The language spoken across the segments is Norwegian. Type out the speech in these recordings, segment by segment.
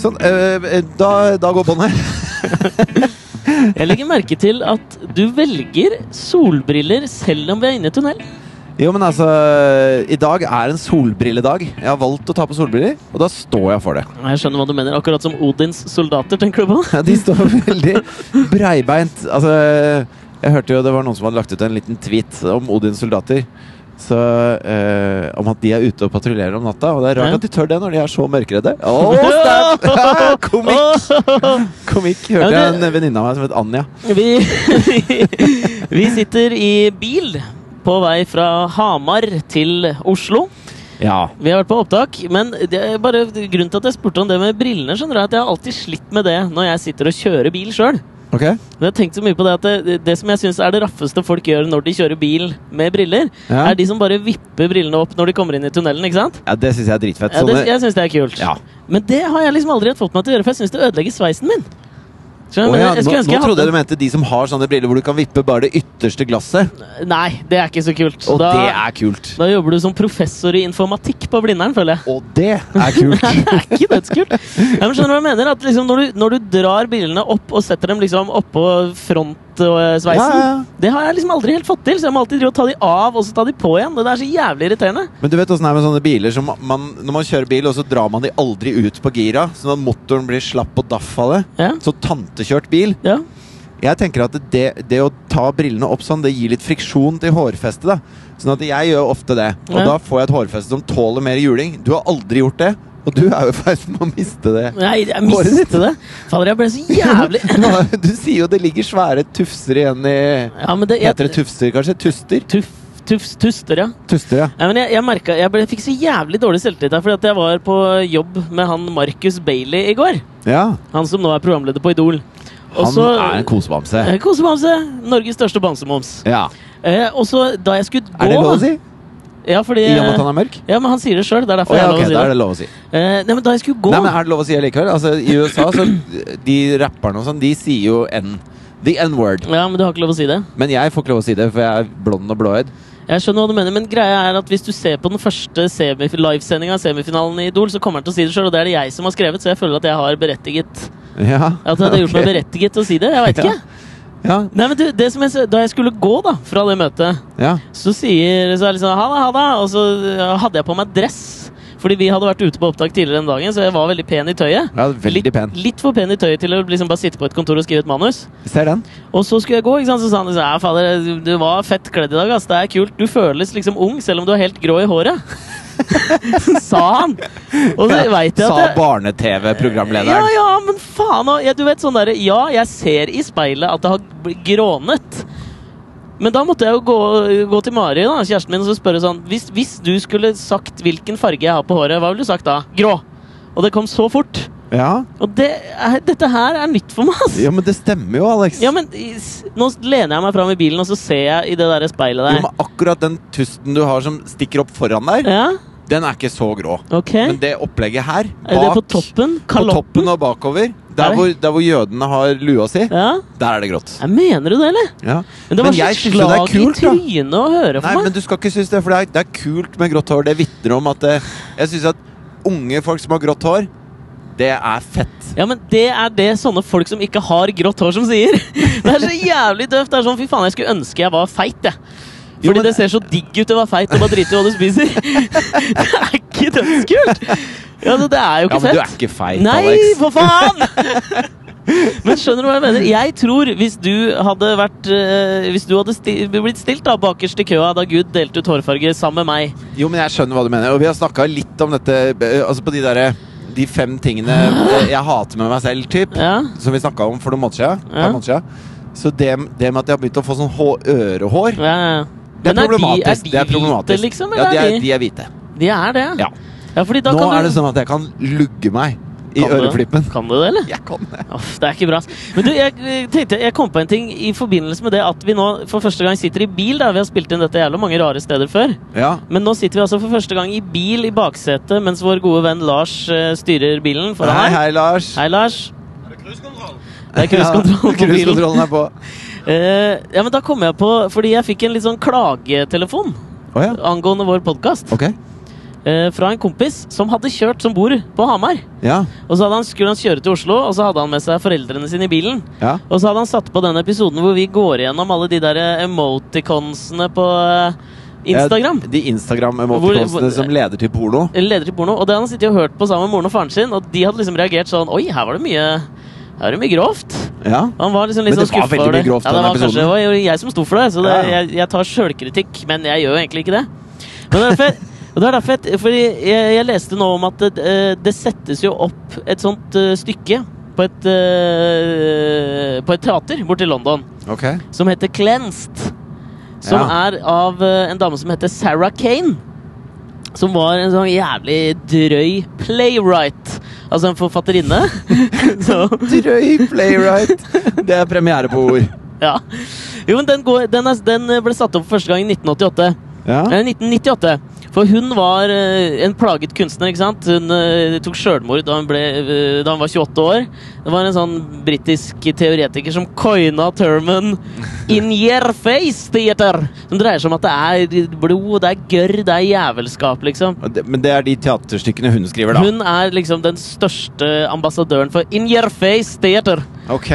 Sånn, eh, da, da går båndet. Jeg legger merke til at du velger solbriller selv om vi er inne i tunnel. Jo, men altså I dag er en solbrilledag. Jeg har valgt å ta på solbriller, og da står jeg for det. Jeg skjønner hva du mener. Akkurat som Odins soldater, tenker du på? Ja, De står veldig breibeint. Altså, jeg hørte jo det var noen som hadde lagt ut en liten tweet om Odins soldater. Så, eh, om at de er ute og patruljerer om natta. Og det er rart Ja. at de tør det når de er så mørkredde. Åh, snap! komikk, komikk, hørte Ja, jeg men en venninne av meg som het Anja. Vi, vi sitter i bil på vei fra Hamar til Oslo. Ja. Vi har vært på opptak, men det er bare grunnen til at jeg spurte om det med brillene, skjønner du, er at jeg har alltid slitt med det når jeg sitter og kjører bil sjøl. Ok? Men jeg har tenkt så mye på det at det, det som jeg syns er det raffeste folk gjør når de kjører bil med briller, Ja. er de som bare vipper brillene opp når de kommer inn i tunnelen, ikke sant? Ja, det syns jeg er dritfett. Ja, det, Sånne- jeg syns det er kult. Sånn, eh, Ja. Men det har jeg liksom aldri fått meg til å gjøre, for jeg syns det ødelegger sveisen min. Skjønner Å du? Men ja, jeg- jeg nå, skulle ønske nå jeg trodde jeg hadde- du mente de som har sånne briller hvor du kan vippe bare det ytterste glasset. Nei, det er ikke så kult. Og da, det er kult. da jobber du som professor i informatikk på Blindern, føler jeg. Og det er kult. Det er ikke dødskult. Nei, men skjønner du hva jeg mener? At liksom når, du, når du drar bilene opp og setter dem liksom oppå frontsveisen Ja, ja, ja. Det har jeg liksom aldri helt fått til, så jeg må alltid drive og ta de av og så ta de på igjen. Det er så jævlig irriterende. Men du vet åssen det er med sånne biler som man, Når man kjører bil, og så drar man de aldri ut på gira, sånn at motoren blir slapp og daff av det. Ja. Så tantekjørt bil. Ja. Jeg tenker at det, det å ta brillene opp sånn, det gir litt friksjon til hårfestet, da. Sånn at jeg gjør ofte det. Og Ja. da får jeg et hårfeste som tåler mer juling. Du har aldri gjort det, og du er jo i ferd med å miste det. Nei, jeg Håret ditt. mistet det. Fader, jeg ble så jævlig du sier jo det ligger svære tufser igjen i ja, men det, Heter det tufser, kanskje? Tuster? tuff? Tufs, tuster, ja. Tuster, ja. Nei, men jeg, jeg, merket, jeg, ble, jeg fikk så jævlig dårlig selvtillit her fordi at jeg var på jobb med han Marcus Bailey i går. ja. Han som nå er programleder på Idol. Og Han så- er en kosebamse. Eh, Kosebamse. Norges største bamsemums. Ja. Eh, og så da jeg skulle gå Er det lov å si? Ja, fordi, eh, I og med at han er mørk? ja men han sier det sjøl. Det er derfor Å ja, jeg ok, har da er lov å si det. det lov å si. Eh, nei, men da jeg skulle gå Nei, men Er det lov å si allikevel? Altså, I USA, så De rapperne og sånn, de sier jo N. The N-word. Ja, men du har ikke lov å si det. Men jeg får ikke lov å si det, for jeg er blond og blåøyd. Jeg skjønner hva du mener, men greia er at hvis du ser på den første semif livesendinga av semifinalen i Idol, så kommer han til å si det sjøl, og det er det jeg som har skrevet, så jeg føler at jeg har berettiget Ja. At det hadde gjort meg ok. berettiget til å si det. Jeg veit ikke. Ja, Nei, men du, det som jeg, s- Da jeg skulle gå da, fra det møtet, ja. så sier så er det liksom ha det, ha det, og så eh, hadde jeg på meg dress. Fordi vi hadde vært ute på opptak tidligere den dagen, så jeg var veldig pen i tøyet. ja veldig litt, pen. litt for pen i tøyet til å liksom bare sitte på et kontor og skrive et manus. Ser den. Og så skulle jeg gå, ikke sant? så sa han liksom, ja, fader, du var fett kledd i dag, ass. det er kult. Du føles liksom ung, selv om du er helt grå i håret. sa han! Og så veit jeg Sa at jeg, ja, barne-TV-programlederen. ja, men faen og, ja, Du vet sånn derre Ja, jeg ser i speilet at det har bl- grånet. Men da måtte jeg jo gå, gå til Mari, da, kjæresten min, og så spørre sånn hvis, hvis du skulle sagt hvilken farge jeg har på håret, hva ville du sagt da? Grå. Og det kom så fort. Ja. Og det er, dette her er nytt for meg, ass! ja, men det stemmer jo, Alex. Ja, men i- s- nå lener jeg meg fram i bilen, og så ser jeg i det der speilet Jo, der. men akkurat den tusten du har som stikker opp foran der, Ja, den er ikke så grå. ok. Men det opplegget her, er det på bak toppen? på Kaloppen? toppen og bakover, Er der det? hvor, der hvor jødene har lua si, Ja. der er det grått. Jeg mener du det, eller? Ja. Men det var Men jeg så synes jo det er slag i kult, da. trynet å høre Nei, for men meg. du skal ikke synes det, for det er, det er kult med grått hår. Det vitner om at eh, Jeg synes at unge folk som har grått hår, det er fett. Ja, men det er det sånne folk som ikke har grått hår, som sier. Det er så jævlig døvt. Det er sånn, fy faen, jeg skulle ønske jeg var feit, jeg. Jo, Fordi men- det ser så digg ut å være feit og bare drite i hva du spiser. Det er ikke dødskult! Ja, det, det er Ja, jo ikke men fett. du er ikke feit, Nei, Alex. for faen! Men skjønner du hva jeg mener? Jeg tror hvis du hadde vært eh, Hvis du hadde sti blitt stilt da bakerst i køa da Gud delte ut hårfarge sammen med meg Jo, men jeg skjønner hva du mener. Og vi har snakka litt om dette eh, Altså på de derre De fem tingene eh, jeg hater med meg selv, typ. Ja, Som vi snakka om for noen måneder siden. Ja. par måneder siden. Så det, det med at jeg har begynt å få sånn hå ørehår, ja, ja. det er Men de- problematisk. de det er problematisk. hvite, liksom? ja, Eller de er, de? de er hvite. De er det? Ja. ja fordi da Nå kan du, er det sånn at jeg kan lugge meg i Kan du- øreflippen. Kan du det, eller? Jeg kan det. Uff, det er ikke bra. ass. Men du, jeg eh, tenkte, jeg kom på en ting i forbindelse med det at vi nå for første gang sitter i bil. da Vi har spilt inn dette jævla mange rare steder før. Ja. Men nå sitter vi altså for første gang i bil i baksetet mens vår gode venn Lars eh, styrer bilen foran Hei, her. hei, Lars. Hei, Lars. Er det Ja, cruisekontroll? Det er cruisekontroll på bilen. cruisekontrollen er på. Eh, ja, men da kom jeg på Fordi jeg fikk en litt sånn klagetelefon Å ja. angående vår podkast. Ok. eh, fra en kompis som hadde kjørt som bor på Hamar. Ja. Og så hadde han, skulle han kjøre til Oslo, og så hadde han med seg foreldrene sine i bilen. ja. Og så hadde han satt på den episoden hvor vi går gjennom alle de der eh, emoticonsene på eh, Instagram. Ja, de Hvor- Instagram-emoticonsene hvor- som leder til porno. Eller leder til porno. Og det hadde han sittet og hørt på sammen med moren og faren sin, og de hadde liksom reagert sånn Oi, her var det mye her var det mye grovt. Ja. Han var liksom Men litt det sånn var skuffa veldig over mye grovt i Ja, det den var kanskje episoden. det var jo jeg som sto for det, så det, Ja, ja. jeg, jeg tar sjølkritikk, men jeg gjør jo egentlig ikke det. Men det er derfor, og det er derfor jeg, fordi jeg, jeg leste nå om at det, eh, det settes jo opp et sånt eh, stykke på et, eh, på et teater borte i London Ok. som heter Cleansed. Som Ja. er av eh, en dame som heter Sarah Kane. Som var en sånn jævlig drøy playwright. Altså en forfatterinne. Så, Drøy playwright! Det er premiere på ord. ja. Jo, men den, går, den, er, den ble satt opp for første gang i 1988. Ja. Eller 1998. Eh, For hun var eh, en plaget kunstner. ikke sant? Hun eh, tok sjølmord da, hun ble, eh, da hun var 28 år. Det var en sånn britisk teoretiker som coina termen 'in your face theater'. Som dreier seg om at det er blod, det er gørr, det er jævelskap, liksom. Og det- Men det er de teaterstykkene hun skriver, da. Hun er liksom den største ambassadøren for 'in your face theater'. Ok.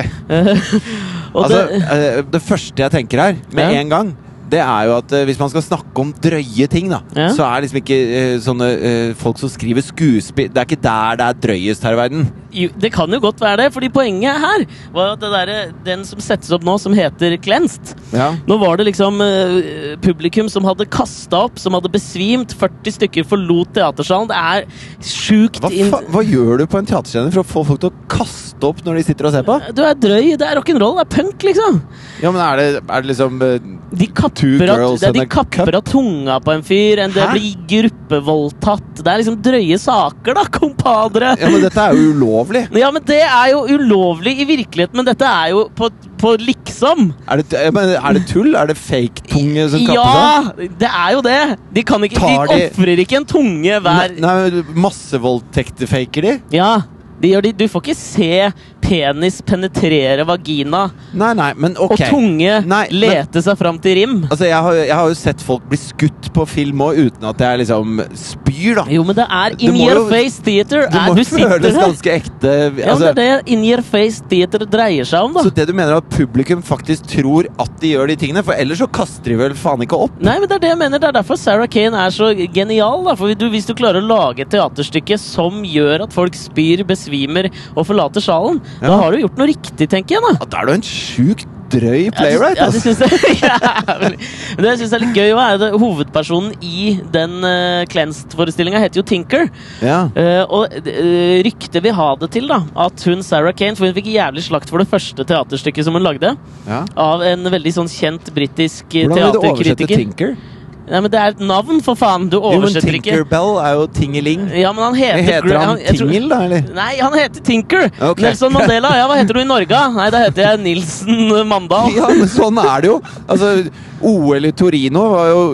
Og altså, det, eh, det første jeg tenker her, med Ja. en gang, det er jo at eh, hvis man skal snakke om drøye ting, da, Ja. så er liksom ikke eh, sånne eh, folk som skriver skuespill Det er ikke der det er drøyest her i verden. Jo, det kan jo godt være det, fordi poenget her var jo at det derre- den som settes opp nå, som heter 'Cleansed', Ja. Nå var det liksom eh, publikum som hadde kasta opp, som hadde besvimt. 40 stykker forlot teatersalen. Det er sjukt Hva, inn... fa hva gjør du på en teaterscene for å få folk til å kaste opp når de sitter og ser på? Du er drøy. Det er rock'n'roll. Det er punk, liksom. Ja, men er det, er det liksom eh, De Two kapper, av, girls det, and de a kapper av tunga på en fyr. En det Hæ? blir gruppevoldtatt. Det er liksom drøye saker, da, kompadre. Ja, men dette er jo ulovlig. Ja, men det er jo ulovlig i virkeligheten, men dette er jo på, på liksom. Er det, ja, men er det tull? Er det fake tunge som kappes av? Ja, det er jo det! De kan ikke sånn? Tar De de- ofrer ikke en tunge hver Nei, nei, massevoldtekter faker de? Ja, de gjør de. Du får ikke se penis penetrere vagina Nei, nei, men ok. og tunge Nei, men- lete seg fram til rim. Altså, jeg har, jeg har jo sett folk bli skutt på film òg, uten at jeg liksom spyr, da. Jo, men det er Det in må your jo- face theater. Det Er, må du jo sitter føles der. ganske ekte. Ja, men Altså, det er det in your face theater dreier seg om, så da. det du mener er at publikum faktisk tror at de gjør de tingene? For ellers så kaster de vel faen ikke opp? Nei, men Det er det jeg mener. Det er derfor Sarah Kane er så genial. da, for du, Hvis du klarer å lage et teaterstykke som gjør at folk spyr, besvimer og forlater salen, Ja. da har du gjort noe riktig, tenker jeg. da. Ja, da er du en sjukt drøy playwright, Ja, det altså. syns jeg. Jævlig. Men det jeg syns er litt gøy, også er at hovedpersonen i den uh, Cleansed-forestillinga heter jo Tinker. Ja. Eh, og eh, ryktet vil ha det til da at hun Sarah Kane For hun fikk jævlig slakt for det første teaterstykket som hun lagde. ja. Av en veldig sånn kjent britisk eh, Hvordan vil du oversette teaterkritiker. Tinker? Nei, men Det er et navn, for faen! Du Jo, men oversetter ikke. Tinkerbell er jo Tingeling. Ja, men han heter, Heter Gra- han jeg tror- Tingel, da, eller? Nei, han heter Tinker. Ok. Nelson Mandela. Ja, hva heter du i Norge? Nei, da heter jeg Nilsen Mandal. Ja, men sånn er det jo. Altså, OL i Torino var jo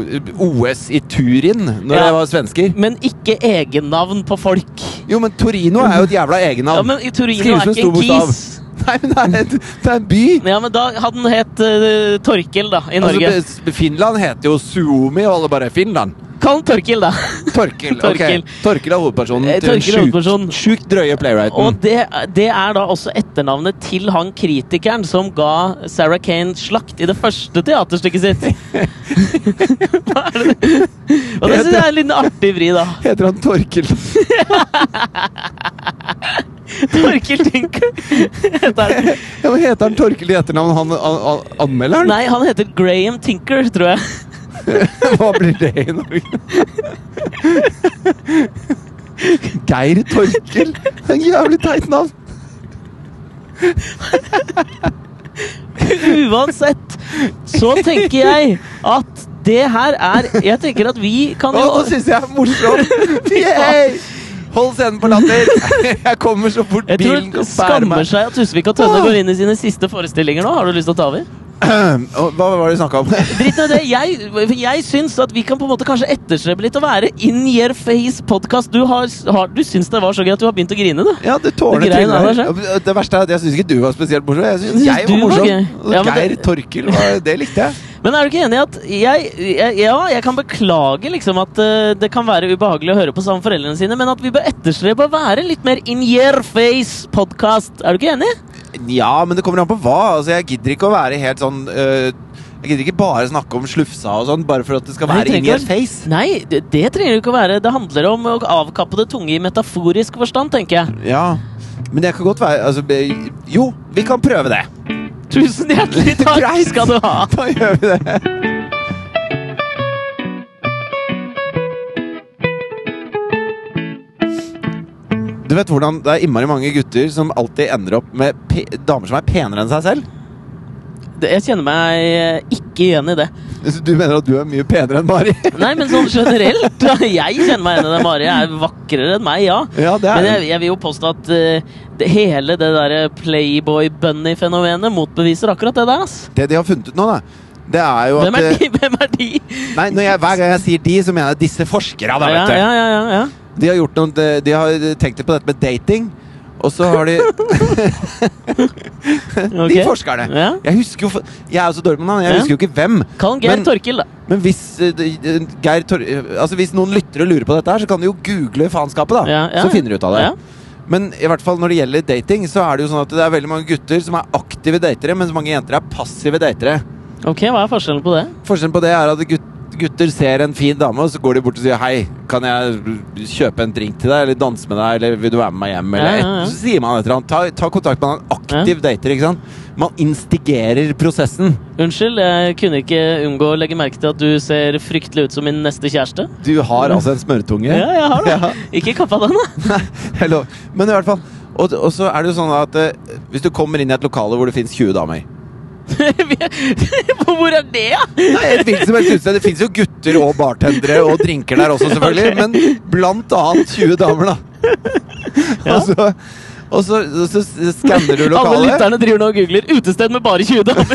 OS i Turin når Ja. jeg var svensker. Men ikke egennavn på folk. Jo, men Torino er jo et jævla Ja, egennavn. men i Torino Skrives er med ikke stor en bokstav. kis. Nei, men det er, et, det er en by! Ja, men da hadde den hett eh, Torkil, da, i Norge. Altså, be- Finland heter jo Suomi, og alle bare Finland. Kall den Torkil, da. Mm. Torkil. ok. Torkil. Torkil er hovedpersonen Eh, til den Torkil er hovedpersonen. sjukt, sjukt drøye playwrighten. Og det, det er da også etternavnet til han kritikeren som ga Sarah Kane slakt i det første teaterstykket sitt. Hva er det? Og det syns jeg er en liten artig vri, da. Heter han Torkil? Torkil Tinker. Heter- Ja, men heter han Torkil i etternavn, han an, an, anmelderen? Nei, han heter Graham Tinker, tror jeg. Hva blir det i Norge? Geir Torkel. En jævlig teit navn. Uansett, så tenker jeg at det her er Jeg tenker at vi kan Å, nå jo syns jeg er morsomt! Yay! Hold scenen på latter! Jeg kommer så fort jeg tror bilen det kan bære skammer meg. seg at Husvik og Tønne Åh! går inn i sine siste forestillinger nå. Har du lyst til å ta over? Å, Hva var det vi snakka om? Drit nå i det. Jeg, for jeg syns at vi kan på en måte kanskje etterstrebe litt å være in your face-podkast. Du, har, har, du syns det var så gøy at du har begynt å grine, du. Ja, det tårnet Det greien tryller. er Det verste er at jeg syns ikke du var spesielt morsom. Jeg syns Jeg jeg synes var du var morsom. gøy. Ja, men Geir det- Torkel, var, det likte jeg. Men er du ikke enig i at jeg, jeg, Ja, jeg kan beklage liksom at eh, det kan være ubehagelig å høre på sammen med foreldrene sine, men at vi bør etterstrebe å være litt mer in your face-podkast. Er du ikke enig? Ja, men det kommer an på hva. Altså, jeg gidder ikke å være helt sånn øh, Jeg gidder ikke bare snakke om slufsa og sånn, bare for at det skal Nei, være trenger in your ikke å- face. Nei, det, det trenger det ikke å være. Det handler om å avkappe det tunge i metaforisk forstand, tenker jeg. Ja, men det kan godt være altså, be- Jo, vi kan prøve det. Tusen hjertelig takk Greit. skal du ha. Da gjør vi det. Du vet hvordan Det er innmari mange gutter som alltid ender opp med pe damer som er penere enn seg selv. Det- Jeg kjenner meg eh, ikke igjen i det. Så Du mener at du er mye penere enn Mari? Nei, men sånn generelt. Jeg kjenner meg igjen i det. Mari er vakrere enn meg, ja. Ja, det Men er jeg, jeg vil jo påstå at eh, det, hele det derre playboy-bunny-fenomenet motbeviser akkurat det der, ass. Det de har funnet ut nå, da, det er jo Hvem at er eh, de? Hvem er de? Nei, når jeg, Hver gang jeg sier de, så mener jeg disse forskere. Da, ja, vet du. ja, ja, ja, ja. De har, gjort noen, de, de har tenkt litt på dette med dating, og så har de De Ok. forskerne. Ja. Jeg husker jo f- Jeg er jo så dårlig med navn, jeg Ja. husker jo ikke hvem. Kall han Geir Men- Torkil, da. Men hvis, eh, de- de- Geir Tor eh, altså hvis noen lytter og lurer på dette, her så kan de jo google faenskapet, da. Ja, ja. Så finner de ut av det. Ja. Men i hvert fall når det gjelder dating, så er det jo sånn at det er veldig mange gutter som er aktive datere, mens mange jenter er passive datere. Ok, hva er forskjellen på det? Forskjellen på det er at gut- gutter ser en fin dame, og så går de bort og sier 'Hei, kan jeg kjøpe en drink til deg?' Eller 'danse med deg', eller 'vil du være med meg hjem?' Eller, Ja, ja, ja. Så sier man et eller annet. Ta, ta kontakt med en aktiv dater. ikke sant? Man instigerer prosessen. Unnskyld, jeg kunne ikke unngå å legge merke til at du ser fryktelig ut som min neste kjæreste. Du har altså en smørtunge. Ja, jeg har det. Ja. Ikke kappa den, da. Nei, jeg lover. Men i hvert fall. Og, og så er det jo sånn at eh, hvis du kommer inn i et lokale hvor det fins 20 damer Hvor er det, da? Nei, et hvilket som helst utsted. Det fins jo gutter og bartendere og drinker der også, selvfølgelig. Ok. Men blant annet 20 damer, da. Ja. og så, og så, så skanner du Alle lokalet, lytterne driver nå og googler 'utested med bare 20 damer'.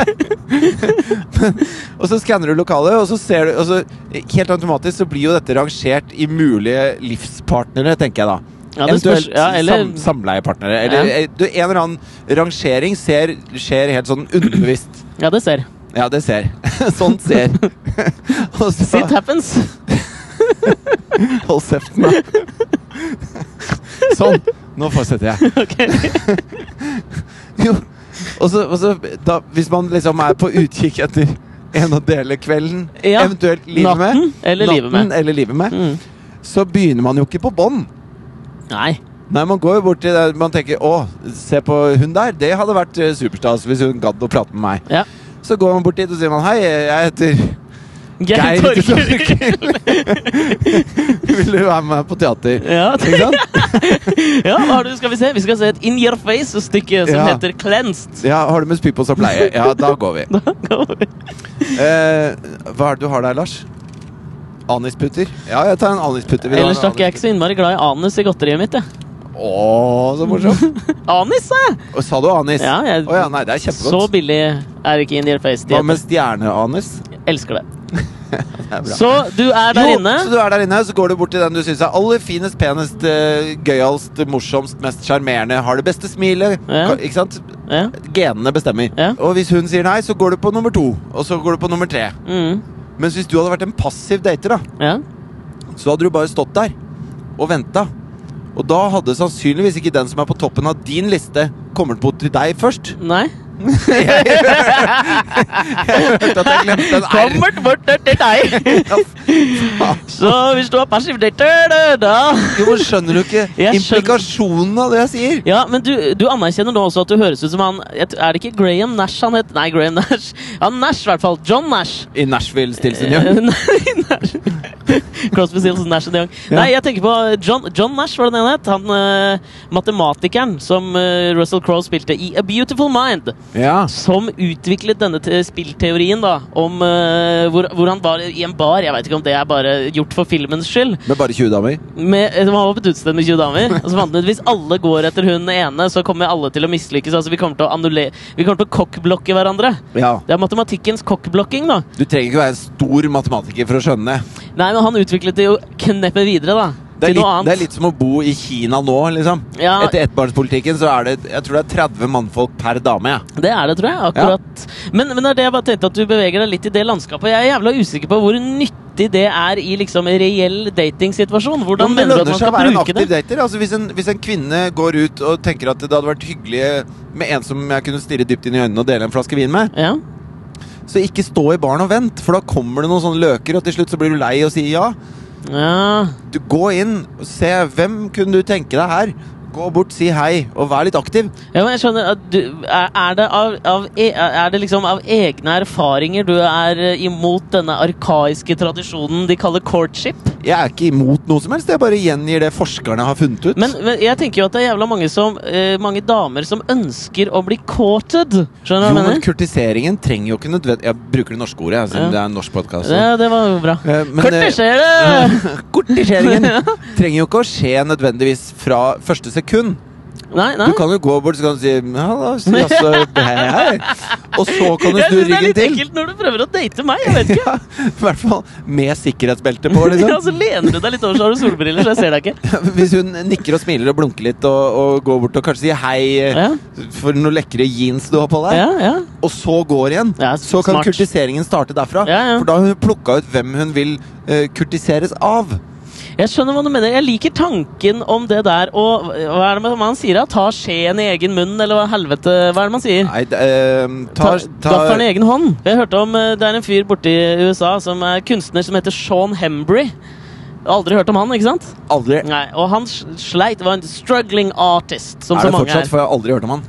og så skanner du lokalet, og så ser du og så, Helt automatisk så blir jo dette rangert i mulige livspartnere, tenker jeg da. Ja, det spørs- Eventuelt ja, eller- sam, samleiepartnere. Eller Ja. eh, du, en eller annen rangering ser, skjer helt sånn underbevisst. Ja, det ser. Ja, det ser. Sånt ser. og så, It happens. Hold kjeften, da. Sånn. Nå fortsetter jeg. Ok. Jo. Og så, og så da, Hvis man liksom er på utkikk etter en å dele kvelden, Ja. eventuelt livet Natten med, eller livet natten med. eller livet med, Mm. så begynner man jo ikke på bånn. Nei. Nei, Man går jo bort til det man tenker 'Å, se på hun der'. Det hadde vært eh, superstas hvis hun gadd å prate med meg. Ja. Så går man bort dit og sier man 'Hei, jeg heter Geir Torkel'. Vil du være med på teater? Ja, Ikke sant? ja hva har du, skal vi se? Vi skal se et In Your Face-stykke som Ja. heter Cleansed. Ja, har du med spypos og pleie? Ja, da går vi. Da går vi. Eh, hva er det du har der, Lars? Anisputter? Ja, jeg tar en anisputter. Vil du ha en Ellers stakk jeg anisputter? ikke så innmari glad i anus i godteriet mitt. Jeg. Å, så morsomt. Anis, sa jeg! Og sa du anis? Ja, jeg- Å ja, nei, det er Så kjempegodt. billig er ikke In Your Face. Hva De med stjerneanis? elsker det. Det er bra. Så du er der Jo, inne. Så du er der inne, så går du bort til den du syns er aller finest, penest, eh, gøyalst, morsomst, mest sjarmerende, har det beste smilet. Ja. Ka- Ikke sant? Ja. Genene bestemmer. Ja. Og hvis hun sier nei, så går du på nummer to. Og så går du på nummer tre. Mm. Mens hvis du hadde vært en passiv dater, da, ja. så hadde du bare stått der og venta. Og da hadde sannsynligvis ikke den som er på toppen av din liste, kommet bort til deg først. Nei. Hørte at jeg glemte en R. Kommer bort til deg! Så hvis du er passiv dater, da Jo, men skjønner du ikke Jeg skjønner. implikasjonen av det jeg sier? Ja, men du, du anerkjenner nå også at du høres ut som han jeg t- Er det ikke Graham Nash han het? Nei, Graham Nash. Han Nash, i hvert fall. John Nash. I Nashville, Stilson, Eh, ja. Nei, Nash. Crosby, Stills, Nash and Young. Ja. Nei, jeg tenker på eh, John, John Nash, var det den het? Han eh, matematikeren som eh, Russell Crowe spilte i A Beautiful Mind. ja. Som utviklet denne te- spillteorien, da. Om eh, hvor, hvor han var i en bar. Jeg veit ikke om det er bare gjort for filmens skyld. Med bare 20 damer. Med, eh, han var på et utested med 20 damer. Og så fant han ut hvis alle går etter hun ene, så kommer alle til å mislykkes. Altså, vi kommer til å annulle- Vi kommer til å kokkblokke hverandre. Ja. Det er matematikkens kokkblokking, da. Du trenger ikke være en stor matematiker for å skjønne det. Nei, men han utviklet det jo kneppet videre, da. Det er, Til noe litt, annet. det er litt som å bo i Kina nå, liksom. Ja. Etter ettbarnspolitikken så er det Jeg tror det er 30 mannfolk per dame, jeg. Det er det, tror jeg. akkurat. Men, men det er det jeg bare tenkte at du beveger deg litt i det landskapet. Jeg er jævla usikker på hvor nyttig det er i liksom en reell datingsituasjon. Hvordan Men det mener du at lønner man seg å skal være en bruke aktiv det? dater. Altså, hvis, en, hvis en kvinne går ut og tenker at det hadde vært hyggelig med en som jeg kunne stirre dypt inn i øynene og dele en flaske vin med, Ja. så ikke stå i baren og vent, for da kommer det noen sånne løker, og til slutt så blir du lei og sier ja. ja. Du, gå inn og se hvem kunne du tenke deg her. Gå bort, si hei, og vær litt aktiv. Ja, men jeg skjønner at du, er, er, det av, av, e- er det liksom av egne erfaringer du er eh, imot denne arkaiske tradisjonen de kaller courtship? Jeg er ikke imot noe som helst, jeg bare gjengir det forskerne har funnet ut. Men, men jeg tenker jo at det er jævla mange, som, eh, mange damer som ønsker å bli courted. jo, Skjønner du hva jeg men mener? kurtiseringen trenger jo ikke nødvendig Jeg bruker det norske ordet, jeg, siden Ja. det er en norsk podkast. Ja, det var jo bra. Men, sånn. eh, Kurtisere! Kortiseringen trenger jo ikke å skje nødvendigvis fra første sekund. Nei, nei. Du kan jo gå bort så kan du si «Hallo, si altså, hei, hei. Og så kan du jeg snu synes det er ryggen litt til. ekkelt når du prøver å date meg. Jeg vet ikke. Ja, I hvert fall med sikkerhetsbelte på. Ja, altså. Liksom. så lener du deg litt over, så har du solbriller, så jeg ser deg ikke. Hvis hun nikker og smiler og blunker litt og, og går bort og kanskje sier hei eh, Ja, for noen lekre jeans du har på deg, ja, ja. og så går igjen, Ja, s- så kan smart. kurtiseringen starte derfra. Ja, ja. For da har hun plukka ut hvem hun vil eh, kurtiseres av. Jeg skjønner hva du mener. Jeg liker tanken om det der og Hva er det man- man sier? da? Ta skjeen i egen munn, eller hva helvete Hva er det man sier? Nei, d- eh, ta, Ta, Gaffelen i egen hånd. Jeg hørte om eh, Det er en fyr borte i USA som er kunstner som heter Sean Hembry. Aldri hørt om han, ikke sant? aldri Nei, Og han s- sleit. Var en struggling artist, som Er så det mange er. fortsatt? For jeg har aldri hørt om han.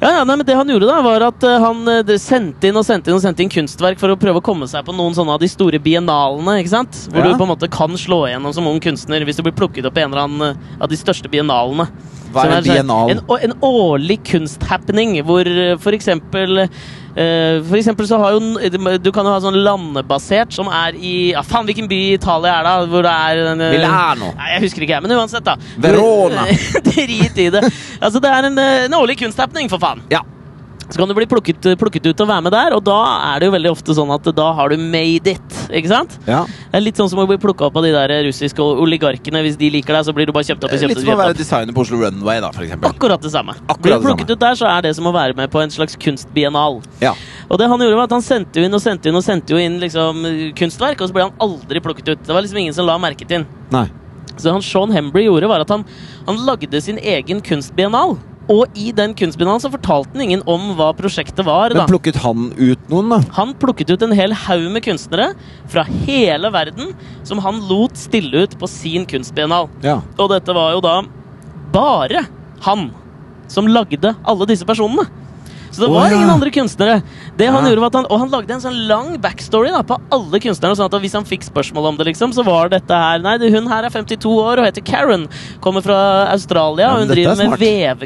Ja, ja, nei, men Det han gjorde, da, var at eh, han eh, det- sendte inn og sendte inn og sendte inn kunstverk for å prøve å komme seg på noen sånne av de store biennalene. ikke sant? Hvor Ja. du på en måte kan slå igjennom som ung kunstner hvis du blir plukket opp i en eller annen eh, av de største biennalene. Hva er en Som sånn biennal? En, å- en årlig kunsthappening hvor eh, for eksempel eh, for eksempel så har jo n- Du kan jo ha sånn landebasert som er i ja, Faen, hvilken by i Italia er det? da, Hvor det er en, eh, Milano. Nei, jeg husker ikke, jeg, men uansett, da. Verona. Drit i det. Altså, det er en, eh, en årlig kunsthappening, for faen. Ja. Så kan du bli plukket, eh, plukket ut og være med der, og da er det jo veldig ofte sånn at da har du made it, ikke sant? ja. Det er litt sånn som å bli plukka opp av de der russiske oligarkene. Hvis de liker deg, så blir du bare kjøpt opp og kjøpt Eh, Litt opp. som å være Kjøpt opp. designer på Oslo Runway, da, for eksempel. Akkurat det samme. Akkurat blir du det samme. plukket ut der, så er det som å være med på en slags kunstbiennal. Ja. Og det han gjorde var at han sendte jo inn og sendte jo inn og sendte jo inn liksom kunstverk, og så ble han aldri plukket ut. Det var liksom ingen som la merke til han. Nei. Så han Sean Hembry gjorde var at han, han lagde sin egen kunstbiennal. Og i den kunstbiennalen så fortalte han ingen om hva prosjektet var. da. Men plukket han ut noen, da? Han plukket ut en hel haug med kunstnere fra hele verden som han lot stille ut på sin kunstbiennal. Ja. Og dette var jo da bare han som lagde alle disse personene. Så det Å, var ja. ingen andre kunstnere. Det han Ja. gjorde var at han, Og han lagde en sånn lang backstory da, på alle kunstnerne. Sånn at hvis han fikk spørsmål om det, liksom, så var dette her Nei, det- hun her er 52 år og heter Karen. Kommer fra Australia. Ja, og men hun dette er driver med smart.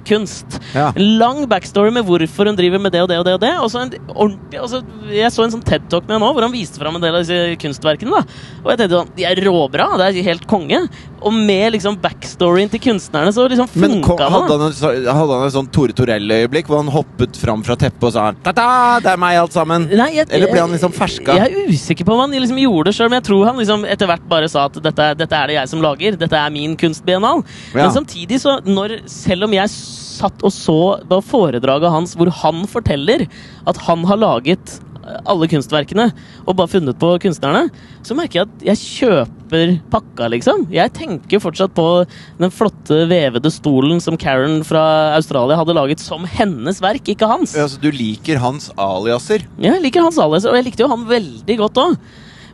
vevekunst. Ja. En lang backstory med hvorfor hun driver med det og det og det. Og det Og så en ordentlig og så, Jeg så en sånn TED-talk med henne nå hvor han viste fram en del av disse kunstverkene. da Og jeg tenkte sånn De er råbra! Det er helt konge! Og med liksom backstoryen til kunstnerne så liksom Men ko- funka det. hadde da. han, en så- hadde han et sånn Tore Torell-øyeblikk hvor han hoppet fram fra teppet og sa Ta-ta, det er meg, alt sammen? Nei, jeg, Eller ble han liksom ferska? Jeg er usikker på om han liksom gjorde det sjøl, men jeg tror han liksom etter hvert bare sa at dette, dette er det jeg som lager. Dette er min kunstbiennal. Ja. Men samtidig, så når, selv om jeg satt og så da foredraget hans hvor han forteller at han har laget eh, alle kunstverkene og bare funnet på kunstnerne, så merker jeg at jeg kjøper pakka, liksom. Jeg tenker fortsatt på den flotte vevede stolen som Karen fra Australia hadde laget som hennes verk, ikke hans. Altså, du liker hans aliaser? Ja, jeg liker Hans Alias, og jeg likte jo han veldig godt òg.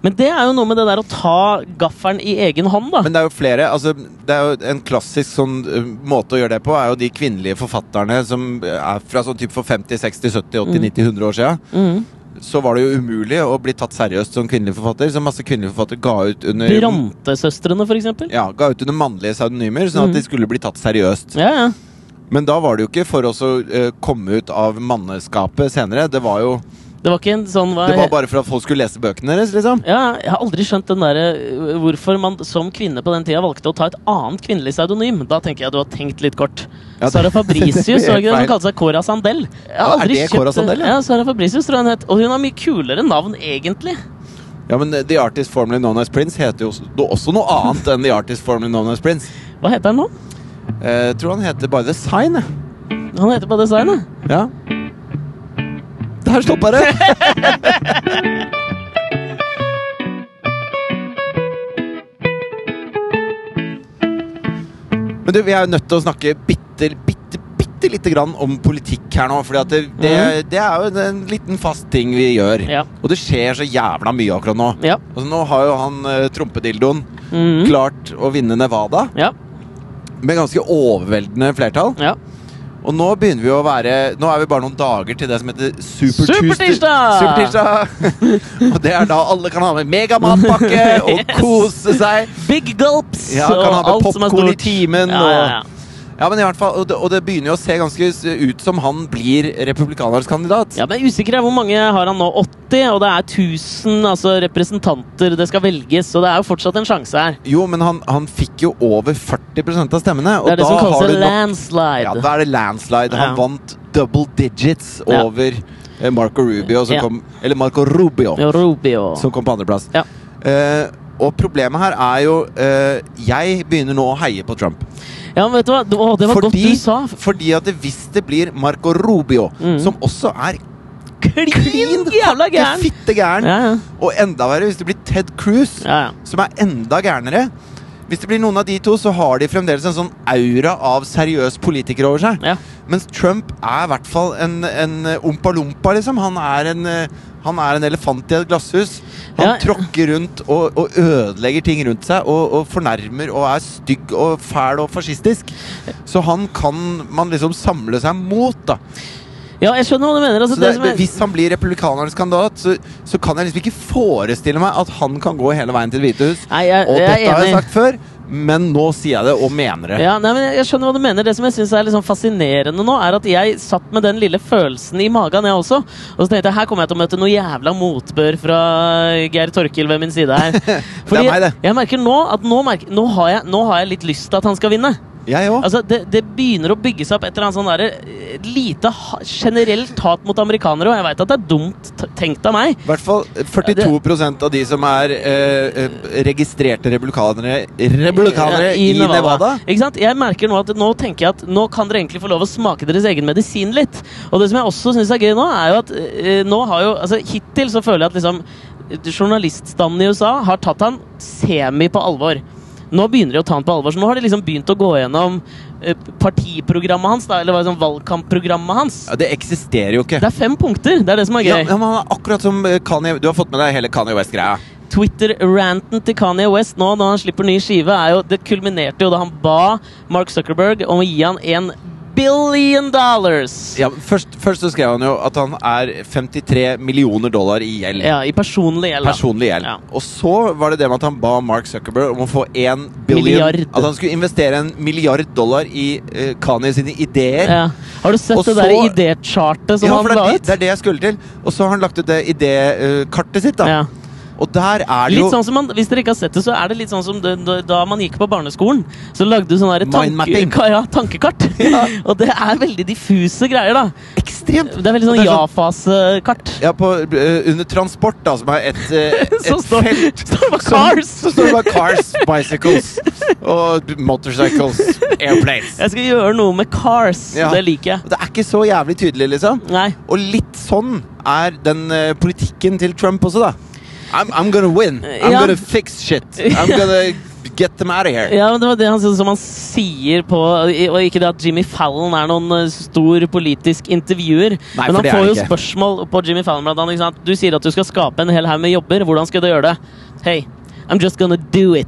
Men det er jo noe med det der å ta gaffelen i egen hånd, da. Men det er jo flere altså, det er jo En klassisk sånn eh, måte å gjøre det på er jo de kvinnelige forfatterne som er fra sånn typ for 50, 60, 70, 80, Mm. 90, 100 år siden. Mhm. Så var det jo umulig å bli tatt seriøst som kvinnelig forfatter, så masse kvinnelige forfattere ga ut under Brantesøstrene, for eksempel. ja, ga ut under mannlige pseudonymer, sånn at de skulle bli tatt seriøst. Ja, ja. Men da var det jo ikke for oss å eh, komme ut av manneskapet senere. Det var jo Det var ikke en sånn hva, det var bare for at folk skulle lese bøkene deres, liksom. ja, Jeg har aldri skjønt den derre øh, hvorfor man som kvinne på den tida valgte å ta et annet kvinnelig pseudonym. Da tenker jeg du har tenkt litt kort. Ja, det- Sara Fabricius det er var ikke det feil. hun kalte seg Cora Sandel. Jeg har Ja, er aldri det Cora Sandel, ja? Ja, Sara Fabricius tror jeg hun het. Og hun har mye kulere navn, egentlig. Ja, men eh, The Artist Formally Known As Prince heter jo også, det er også noe annet enn The Artist Formally Known As Prince. Hva heter han nå? Eh, tror han heter bare The Sign, jeg. Han heter på designet. Ja. Der stoppa det! Men du, vi er jo nødt til å snakke bitte, bitte, bitte lite grann om politikk her nå. For det, det, det er jo en liten fast ting vi gjør. Ja. Og det skjer så jævla mye akkurat nå. Ja. Altså, nå har jo han eh, trompedildoen Mhm. klart å vinne Nevada Ja. med ganske overveldende flertall. ja. Og nå begynner vi å være Nå er vi bare noen dager til det som heter Super Supertirsdag! Supertirsdag! og det er da alle kan ha med megamatpakke og Yes! kose seg. Big gulps Ja, og kan ha med alt som er popcorn i stort. timen Ja, ja, ja. Ja, men i hvert fall, og det, og det begynner jo å se ganske s- ut som han blir republikanernes kandidat. Ja, men jeg er usikker jeg. Hvor mange har han nå? 80? Og det er 1000 altså, representanter det skal velges, så det er jo fortsatt en sjanse her. Jo, men han, han fikk jo over 40 av stemmene. Og Det er det da som har kalles du en nok- landslide. Ja, da er det landslide. Han Ja. vant double digits Ja. over eh, Marco Rubio, som Ja. kom Eller Marco Rubio, Ja, Rubio. som kom på andreplass. Ja. Eh, og problemet her er jo eh, Jeg begynner nå å heie på Trump. ja, men vet du hva? Det- Å, det var fordi, godt du sa. fordi at det, hvis det blir Marco Rubio, Mm. som også er Klin klin jævla hakke gæren! fitte gæren, Ja, ja. og enda verre hvis det blir Ted Cruz, ja, ja. som er enda gærnere Hvis det blir noen av de to, så har de fremdeles en sånn aura av seriøs politiker over seg. Ja. Mens Trump er i hvert fall en, en eh, ompa-lompa, liksom. Han er, en, eh, han er en elefant i et glasshus. Han Ja. tråkker rundt og, og ødelegger ting rundt seg, og, og fornærmer og er stygg og fæl og fascistisk. Så han kan man liksom samle seg mot, da. ja, jeg skjønner hva du mener. Altså, Så det, det, som er, hvis han blir republikanernes kandidat, så, så kan jeg liksom ikke forestille meg at han kan gå hele veien til Det hvite hus. Nei, jeg, Og jeg er dette har enig. jeg sagt før, men nå sier jeg det og mener det. Ja, nei, men jeg- jeg skjønner hva du mener. Det som jeg synes er litt sånn fascinerende nå, er at jeg satt med den lille følelsen i magen, jeg også. Og så tenkte jeg her kommer jeg til å møte noe jævla motbør fra eh, Geir Torkil ved min side her. Fordi meg, det. Jeg, jeg merker nå at nå, merker, nå, har jeg, nå har jeg litt lyst til at han skal vinne. Jeg òg. Altså, det, det begynner å bygge seg opp et eller annet sånn derre eh, lite ha- generelt hat mot amerikanere, og jeg veit at det er dumt t- tenkt av meg. I hvert fall 42 av de som er eh, eh, registrerte republikanere, republikanere i, Nevada. Ikke sant? Jeg merker nå at nå tenker jeg at nå kan dere egentlig få lov å smake deres egen medisin litt. Og det som jeg også syns er gøy nå, er jo at eh, nå har jo Altså, hittil så føler jeg at liksom eh, journaliststanden i USA har tatt han semi på alvor. Nå begynner de å ta han på alvor, så nå har de liksom begynt å gå gjennom eh, partiprogrammet hans, da, eller hva er det, sånn valgkampprogrammet hans. Ja, det eksisterer jo ikke. Det er fem punkter, det er det som er Ja, gøy. ja, men han er akkurat som eh, Kanye Du har fått med deg hele Kanye West-greia. Twitter-ranten til Kanye West nå når han slipper ny skive, er jo, det kulminerte jo da han ba Mark Zuckerberg om å gi han en billion dollars. Ja, først, først så skrev han jo at han er 53 millioner dollar i gjeld. Ja, I personlig gjeld. da. Personlig gjeld. Ja. Og så var det det med at han ba Mark Zuckerberg om å få en billion Milliard. At han skulle investere en milliard dollar i eh, Kanye sine ideer. Ja. Har du sett Og det så- der idéchartet som Ja, han for det er, la det, ut? det er det jeg skulle til. Og så har han lagt ut det idékartet sitt. da Ja. Og der er det jo Litt sånn som man, hvis dere ikke har sett det, så er det litt sånn som det, da- da man gikk på barneskolen. Så lagde du sånne der tanke, Mindmapping. ka- ja, tankekart. Ja. Og det er veldig diffuse greier, da. ekstremt Det er veldig Og sånn det er sånn- ja-fase-kart. ja, på, eh, under transport, da, som er et, eh, et Så står, felt står det bare som- Cars! Så står det bare cars, bicycles og motorcycles, airplanes. Jeg skal gjøre noe med cars. Ja. Det liker jeg. Det er ikke så jævlig tydelig, liksom. Nei. Og litt sånn er den eh, politikken til Trump også, da. I'm, I'm gonna win. I'm Ja. gonna fix shit. I'm gonna get them out of here. Ja, men Det var det han, som han sier på Og ikke det at Jimmy Fallon er noen eh, stor politisk intervjuer. Nei, for men han det er får han jo ikke. spørsmål på Jimmy Fallon blant annet. Ikke sant? Du sier at du skal skape en hel haug med jobber. Hvordan skal du gjøre det? Hey, I'm just gonna do it.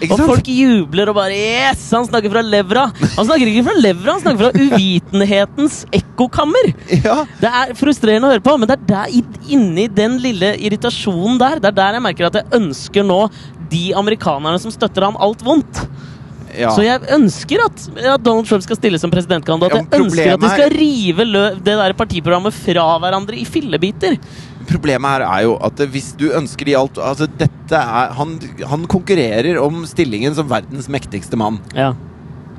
Ikke Og sant? folk jubler og bare Yes! Han snakker fra levra! Han snakker ikke fra levra, han snakker fra uvitenhetens ekkokammer! Ja. Det er frustrerende å høre på, men det er der, i- inni den lille irritasjonen der Det er der jeg merker at jeg ønsker nå de amerikanerne som støtter ham, alt vondt. ja. Så jeg ønsker at, at Donald Trump skal stille som presidentkandidat. Ja, Jeg men ønsker at de problemet skal er- rive lø det der partiprogrammet fra hverandre i fillebiter. Problemet her er jo at eh, hvis du ønsker de alt Altså, dette er Han, han konkurrerer om stillingen som verdens mektigste mann. Ja.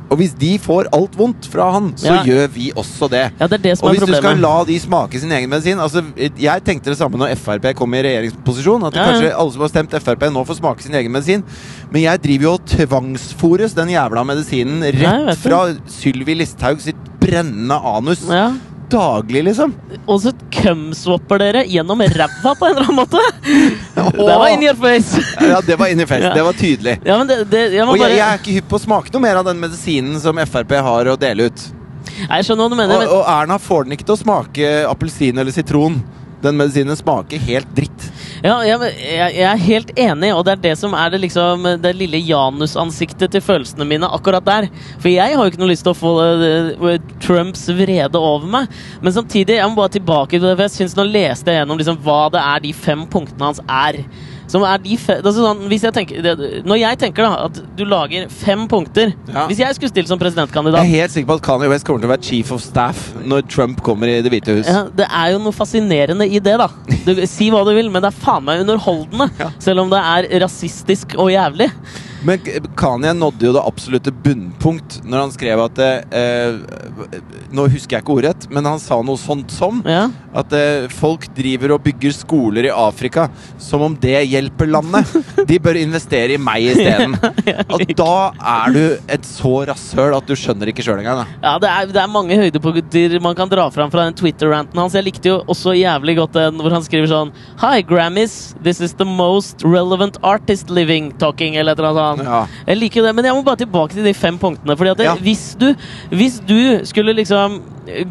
Og Og hvis de får alt vondt fra han, så Ja. gjør vi også det. Ja, det er det som Og er hvis du skal problemet. la de smake sin egen medisin altså, Jeg tenkte det samme når Frp kom i regjeringsposisjon. At Ja, ja. kanskje alle som har stemt Frp, nå får smake sin egen medisin. Men jeg driver jo og tvangsfòres den jævla medisinen jeg rett vet det. fra Sylvi Listhaug sitt brennende anus Ja. daglig, liksom. Og så cumswapper dere gjennom ræva på en eller annen måte! Det var in your face! Ja, det var inni fest. Ja. Det var tydelig. Ja, men det, det, jeg må Og jeg, jeg bare er ikke hypp på å smake noe mer av den medisinen som Frp har å dele ut. Nei, Jeg skjønner hva du Og, mener, men og Erna får den ikke til å smake appelsin eller sitron. Den medisinen smaker helt dritt. Ja, jeg, jeg, jeg er helt enig, og det er det som er det, liksom, det lille janusansiktet til følelsene mine akkurat der. For jeg har jo ikke noe lyst til å få eh, Trumps vrede over meg. Men samtidig, jeg må bare tilbake til det, for jeg synes nå leste jeg gjennom liksom, hva det er de fem punktene hans er. Som er de fe det er sånn, hvis jeg tenker, det, når jeg tenker da, at du lager fem punkter Ja. Hvis jeg skulle stille som Jeg er presidentkandidat helt sikker på at Kanye West kommer til å være chief of staff når Trump kommer i Det hvite hus. ja, Det er jo noe fascinerende i det, da. Du, si hva du vil, men det er faen meg underholdende. Ja. Selv om det er rasistisk og jævlig. Men K- Kanye nådde jo det absolutte bunnpunkt når han skrev at eh, Nå husker jeg ikke ordrett, men han sa noe sånt som Ja. At eh, folk driver og bygger skoler i Afrika som om det hjelper landet. De bør investere i meg isteden. At da er du et så rasshøl at du skjønner ikke sjøl engang. da. Ja, det er, det er mange høydepunkter man kan dra fram fra den Twitter-ranten hans. Jeg likte jo også jævlig godt den hvor han skriver sånn Hi, Grammys. This is the most relevant artist living talking, eller et eller annet sånt. Ja. Jeg liker jo det, men jeg må bare tilbake til de fem punktene. Fordi at det, Ja. hvis, du, hvis du skulle liksom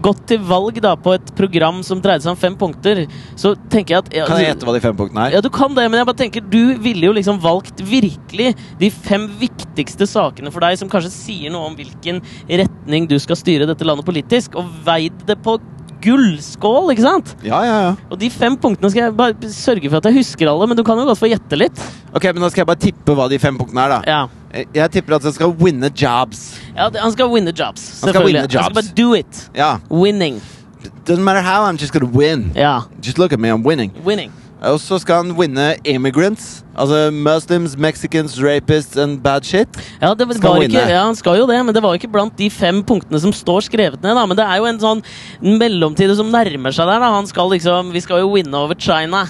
gått til valg da på et program som dreide seg om fem punkter, så tenker jeg at Kan jeg gjette hva de fem punktene Ja, er? du kan det, men jeg bare tenker du ville jo liksom valgt virkelig de fem viktigste sakene for deg, som kanskje sier noe om hvilken retning du skal styre dette landet politisk, og veid det på gullskål, ikke sant? Ja, ja, ja. Og de fem punktene skal jeg bare sørge for at jeg husker alle, men du kan jo godt få gjette litt. Ok, men Da skal jeg bare tippe hva de fem punktene er. da Ja. Eh, Jeg tipper at det skal winne jobs. ja det- han skal winne jobs, Han skal selvfølgelig. winne jobs. bare do it. Ja. Winning. Doesn't matter how, I'm just gonna win. Ja. Just look at me, I'm winning. Winning. Og så skal han winne immigrants. Altså Muslims, Mexicans, rapists and bad shit. Ja, det var Skal var winne. ikke, ja, han skal jo det, men det var jo ikke blant de fem punktene som står skrevet ned. da, Men det er jo en sånn mellomtid som nærmer seg der. da, han skal liksom, Vi skal jo winne over China.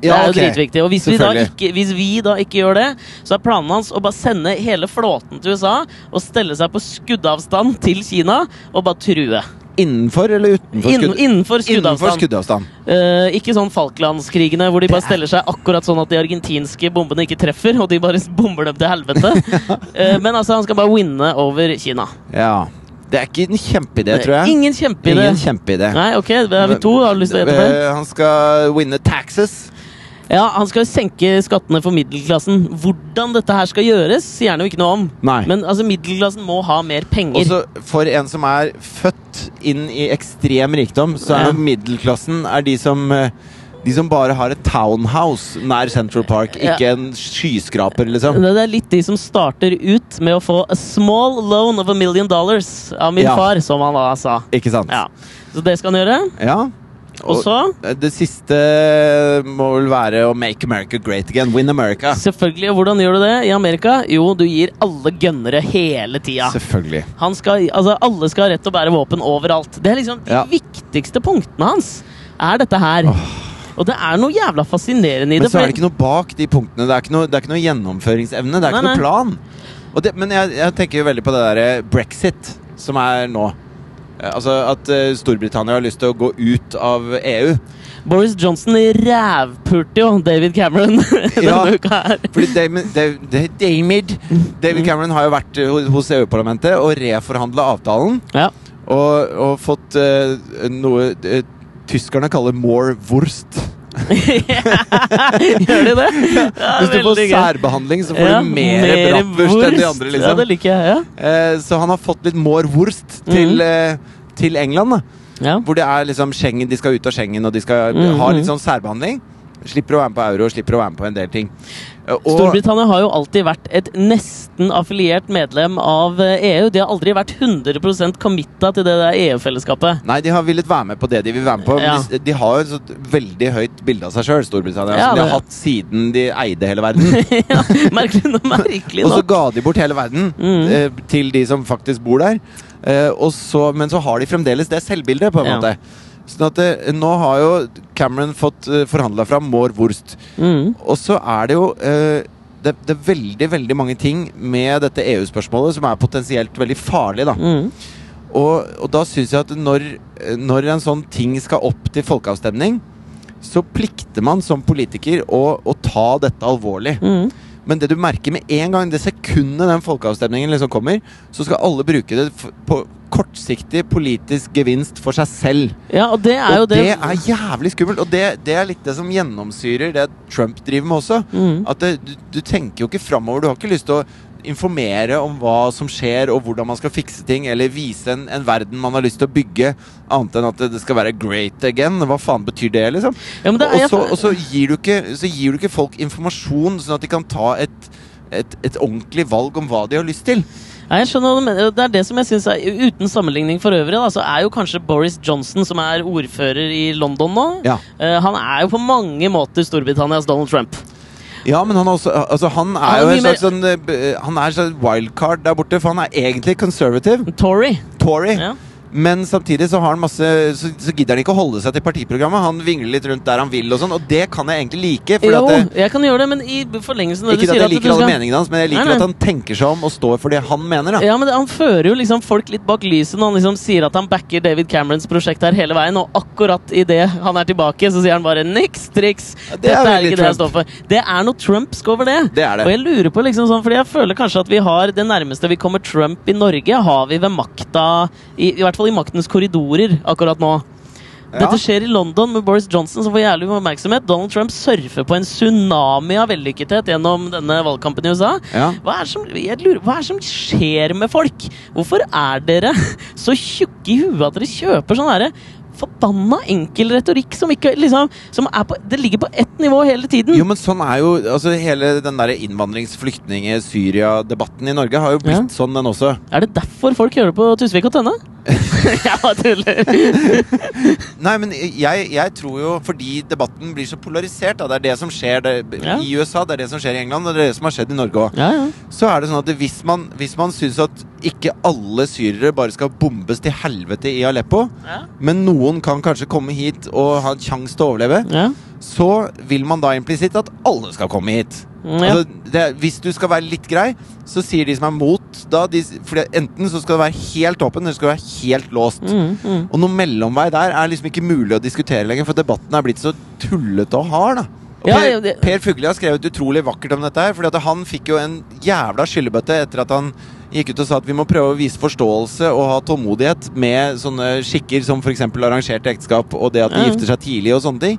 Det Ja, er jo ok. dritviktig. Og hvis vi, da Selvfølgelig. ikke, hvis vi da ikke gjør det, så er planen hans å bare sende hele flåten til USA og stelle seg på skuddavstand til Kina og bare true. Innenfor eller utenfor Inn, skudd- innenfor Innenfor skuddavstand. skuddavstand. Eh, ikke sånn Falklandskrigene, hvor de bare steller seg akkurat sånn at de argentinske bombene ikke treffer, og de bare bomber dem til helvete. Eh, men altså, han skal bare winne over Kina. Ja. Det er ikke en kjempeidé, tror jeg. Ingen kjempeidé. Ingen kjempeidé. Nei, ok, da er vi to. Har du lyst til å gjette flere? Eh, Han skal winne taxes. Ja, han skal senke skattene for middelklassen. Hvordan dette her skal gjøres, sier han jo ikke noe om. Nei. Men altså, middelklassen må ha mer penger. Og så for en som er født inn i ekstrem rikdom, så er Ja. nok middelklassen er de som eh, de som bare har et townhouse nær Central Park, Ja. ikke en skyskraper, liksom. det er litt de som starter ut med å få a small loan of a million dollars av min Ja. far, som han da sa. Ikke sant? Ja. Så det skal han gjøre. Ja. eh, Og så Det siste må vel være å make America great again. Win America. Selvfølgelig, og Hvordan gjør du det i Amerika? Jo, du gir alle gønnere hele tida. Selvfølgelig. Han skal, altså, alle skal ha rett til å bære våpen overalt. Det er liksom de Ja. viktigste punktene hans. Er dette her. Og det er noe jævla fascinerende i Men så det. for- er det ikke noe bak de punktene. Det er ikke noe, det er ikke noe gjennomføringsevne. Det er Nei, ikke nei. noe plan. Og det, men jeg, jeg tenker jo veldig på det derre brexit som er nå. Eh, Altså at eh, Storbritannia har lyst til å gå ut av E EU. Boris Johnson rævpulte jo David Cameron denne Ja. uka her. Fordi Damon, Dav- Da- Damid David Cameron har jo vært eh, ho- hos EU-parlamentet og reforhandla avtalen. Ja. Og, og fått eh, noe eh, tyskerne kaller 'more wurst'. Gjør de det? Ja, Hvis du får veldig gøy. særbehandling, så får Ja, du mer bratwurst enn de wurst. andre. Ja, liksom det liker jeg. ja. eh, Så han har fått litt more wurst til, Mhm. eh, til England. Da. ja. Hvor det er liksom Schengen, de skal ut av Schengen og de skal Mhm. ha litt sånn særbehandling. Slipper å være med på euro og slipper å være med på en del ting. Eh, og- Storbritannia har jo alltid vært et nesten affiliert medlem av eh, EU. De har aldri vært 100 committa til det der E EU-fellesskapet. Nei, de har villet være med på det de vil være med på. men Ja. De, de har jo et sånt veldig høyt bilde av seg sjøl, Storbritannia, Ja, som de har det- hatt siden de eide hele verden. ja, merkelig nok. Merkelig Og så nok. ga de bort hele verden Mm. eh, til de som faktisk bor der. Eh, og så, men så har de fremdeles det selvbildet, på en Ja. måte. Sånn at eh, nå har jo Cameron fått eh, forhandla fram More Wurst. Mm. Og så er det jo eh, det, det er veldig veldig mange ting med dette EU-spørsmålet som er potensielt veldig farlig. da Mm. Og, og da syns jeg at når, eh, når en sånn ting skal opp til folkeavstemning, så plikter man som politiker å, å ta dette alvorlig. Mm. Men det du merker med en gang, det sekundet den folkeavstemningen liksom kommer, så skal alle bruke det f på kortsiktig politisk gevinst for seg selv. Ja, og det er jo Og det det, er jævlig skummelt. Og det, det er litt det som gjennomsyrer det Trump driver med også. Mm. At det, du, du tenker jo ikke framover. Du har ikke lyst til å informere om hva som skjer, og hvordan man skal fikse ting, eller vise en, en verden man har lyst til å bygge, annet enn at det, det skal være great again. Hva faen betyr det, liksom? ja, men det er Og så, og så, gir du ikke, så gir du ikke folk informasjon, sånn at de kan ta et, et, et ordentlig valg om hva de har lyst til. Nei, jeg skjønner hva du mener. Det er det som jeg synes er Uten sammenligning for øvrig, da, så er jo kanskje Boris Johnson, som er ordfører i London nå Ja, eh, Han er jo på mange måter Storbritannias Donald Trump. ja men han, er også, altså, han er Han er jo mye en slags sånn, eh, b- Han er en slags wildcard der borte, for han er egentlig conservative. Tory. Tory. Ja. Men samtidig så har han masse Så, så gidder han ikke å holde seg til partiprogrammet. Han vingler litt rundt der han vil, og sånn, og det kan jeg egentlig like. Fordi Jo, at det, jeg kan gjøre det, men i forlengelsen av det ikke du at sier jeg at liker du alle skal- meningene hans, men jeg liker Nei, nei. at han tenker seg om og står for det han mener. Da. Ja, men det, Han fører jo liksom folk litt bak lyset når han liksom sier at han backer David Camerons prosjekt her hele veien, og akkurat idet han er tilbake, så sier han bare 'niks triks'. det er Dette er veldig ikke det jeg står Trump. for. Det er noe trumpsk over det. Det er det. Og jeg lurer på liksom sånn, fordi jeg føler kanskje at vi har det nærmeste vi kommer Trump i Norge, har vi ved makta I, i hvert fall i maktens korridorer akkurat nå. Dette skjer i London med Boris Johnson, som får jævlig mye oppmerksomhet. Donald Trump surfer på en tsunami av vellykkethet gjennom denne valgkampen i USA. Ja. Hva er, det som, jeg lurer, hva er det som skjer med folk? Hvorfor er dere så tjukke i huet at dere kjøper sånn herre forbanna enkel retorikk som ikke liksom som er på, Det ligger på ett nivå hele tiden. Jo, men sånn er jo altså, Hele den der innvandrings-flyktning-Syria-debatten i Norge har jo blitt Ja. sånn, den også. Er det derfor folk hører på Tusvik og Tønne? jeg bare tuller. Nei, men jeg, jeg tror jo fordi debatten blir så polarisert, da. Det er det som skjer det, Ja. i USA, det er det som skjer i England, og det er det som har skjedd i Norge òg. Ja, ja. Så er det sånn at det- hvis man, hvis man syns at ikke alle syrere bare skal bombes til helvete i Aleppo, Ja. men noen kan kanskje komme hit og ha en sjanse til å overleve, Ja. så vil man da implisitt at alle skal komme hit. Mm, ja. Altså, det, er- hvis du skal være litt grei, så sier de som er mot da, de, s- fordi Enten så skal det være helt åpen, eller så skal det være helt låst. Mm, mm. Og noen mellomvei der er liksom ikke mulig å diskutere lenger, for debatten er blitt så tullete og hard. da og Ja, per, ja, det- per Fugelli har skrevet utrolig vakkert om dette her, Fordi at han fikk jo en jævla skyllebøtte etter at han gikk ut og sa at vi må prøve å vise forståelse og ha tålmodighet med sånne skikker som f.eks. arrangerte ekteskap og det at de Ja. gifter seg tidlig og sånne ting.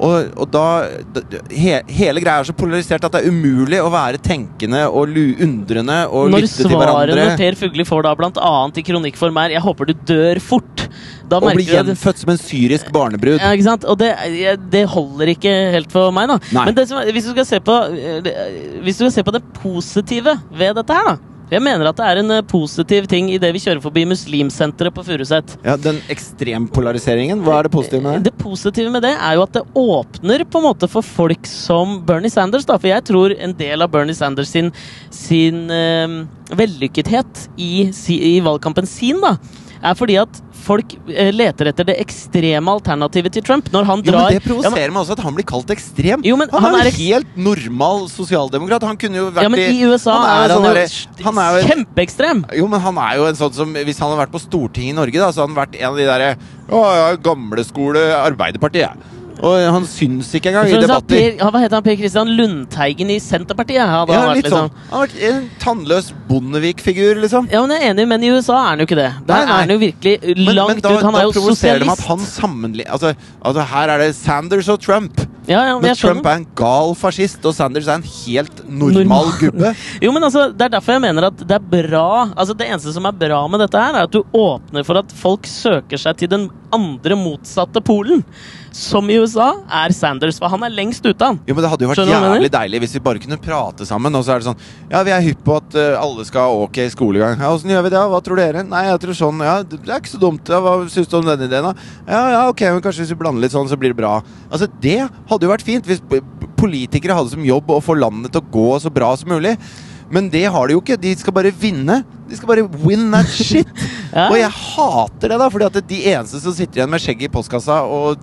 Og, og da d- he, Hele greia er så polarisert at det er umulig å være tenkende og lu, undrende og Når lytte til hverandre. svarene Per Fugli får da blant annet i kronikkform er 'Jeg håper du dør fort', da Og bli merker du at gjenfødt som en syrisk barnebrud. Ja, ikke sant? Og det, jeg- det holder ikke helt for meg, da. Nei. Men det som, er- hvis, du skal se på, eh, det- hvis du skal se på det positive ved dette her, da Jeg mener at det er en eh, positiv ting idet vi kjører forbi Muslimsenteret på Furuset. Eh, Ja, Den ekstrempolariseringen, hva er det positive med det? Det positive med det er jo at det åpner på en måte for folk som Bernie Sanders. da, For jeg tror en del av Bernie Sanders sin, sin eh, vellykkethet i, si, i valgkampen sin da, er fordi at folk eh, leter etter det ekstreme alternativet til Trump. Når han Jo, drar men Det Ja, men- provoserer meg også at han blir kalt ekstrem. Jo, men han, han er er jo eks- helt normal sosialdemokrat. Han kunne jo vært Ja, men i USA han er er jo han, sånn jo derre- st- han er jo kjempeekstrem. jo, men han er jo en sånn som Hvis han hadde vært på Stortinget i Norge, da, så hadde han vært en av de derre Å, ja, gamle skole Arbeiderpartiet, jeg. Og han syns ikke engang i Så sa debatter. Per, ja, hva heter han Per Christian Lundteigen i Senterpartiet? Hadde Ja, han vært, litt sånn. liksom. Han har vært en tannløs Bondevik-figur, liksom. Ja, men jeg er enig, men i USA er han jo ikke det. Der Nei, nei. er han jo virkelig Men, langt men da, ut. Han da er jo provoserer det meg at sosialist. han sammenligner altså, altså, her er det Sanders og Trump. Ja, ja, men Men jeg skjønner. Trump er en gal fascist, og Sanders er en helt normal, Normal. gubbe. Jo, men altså, Det er derfor jeg mener at det er bra Altså, det eneste som er bra med dette, her er at du åpner for at folk søker seg til den andre motsatte polen. som i USA, er Sanders. For han er lengst ute, han. Jo, men Det hadde jo vært sånn. Skjønner du hva jeg jævlig deilig hvis vi bare kunne prate sammen. Og så er det sånn Ja, vi er hypp på at eh, alle skal ha ok skolegang. Ja, Åssen gjør vi det? Hva tror dere? Nei, jeg tror sånn. Ja, det er ikke så dumt. Ja, hva syns du om den ideen, da? Ja, ja, ok, men kanskje hvis vi blander litt sånn, så blir det bra. Altså, det hadde jo vært fint hvis p- politikere hadde som jobb å få landet til å gå så bra som mulig. Men det har de jo ikke. De skal bare vinne. De skal bare win that shit. Ja. Og jeg hater det, da, fordi at de eneste som sitter igjen med skjegget i postkassa og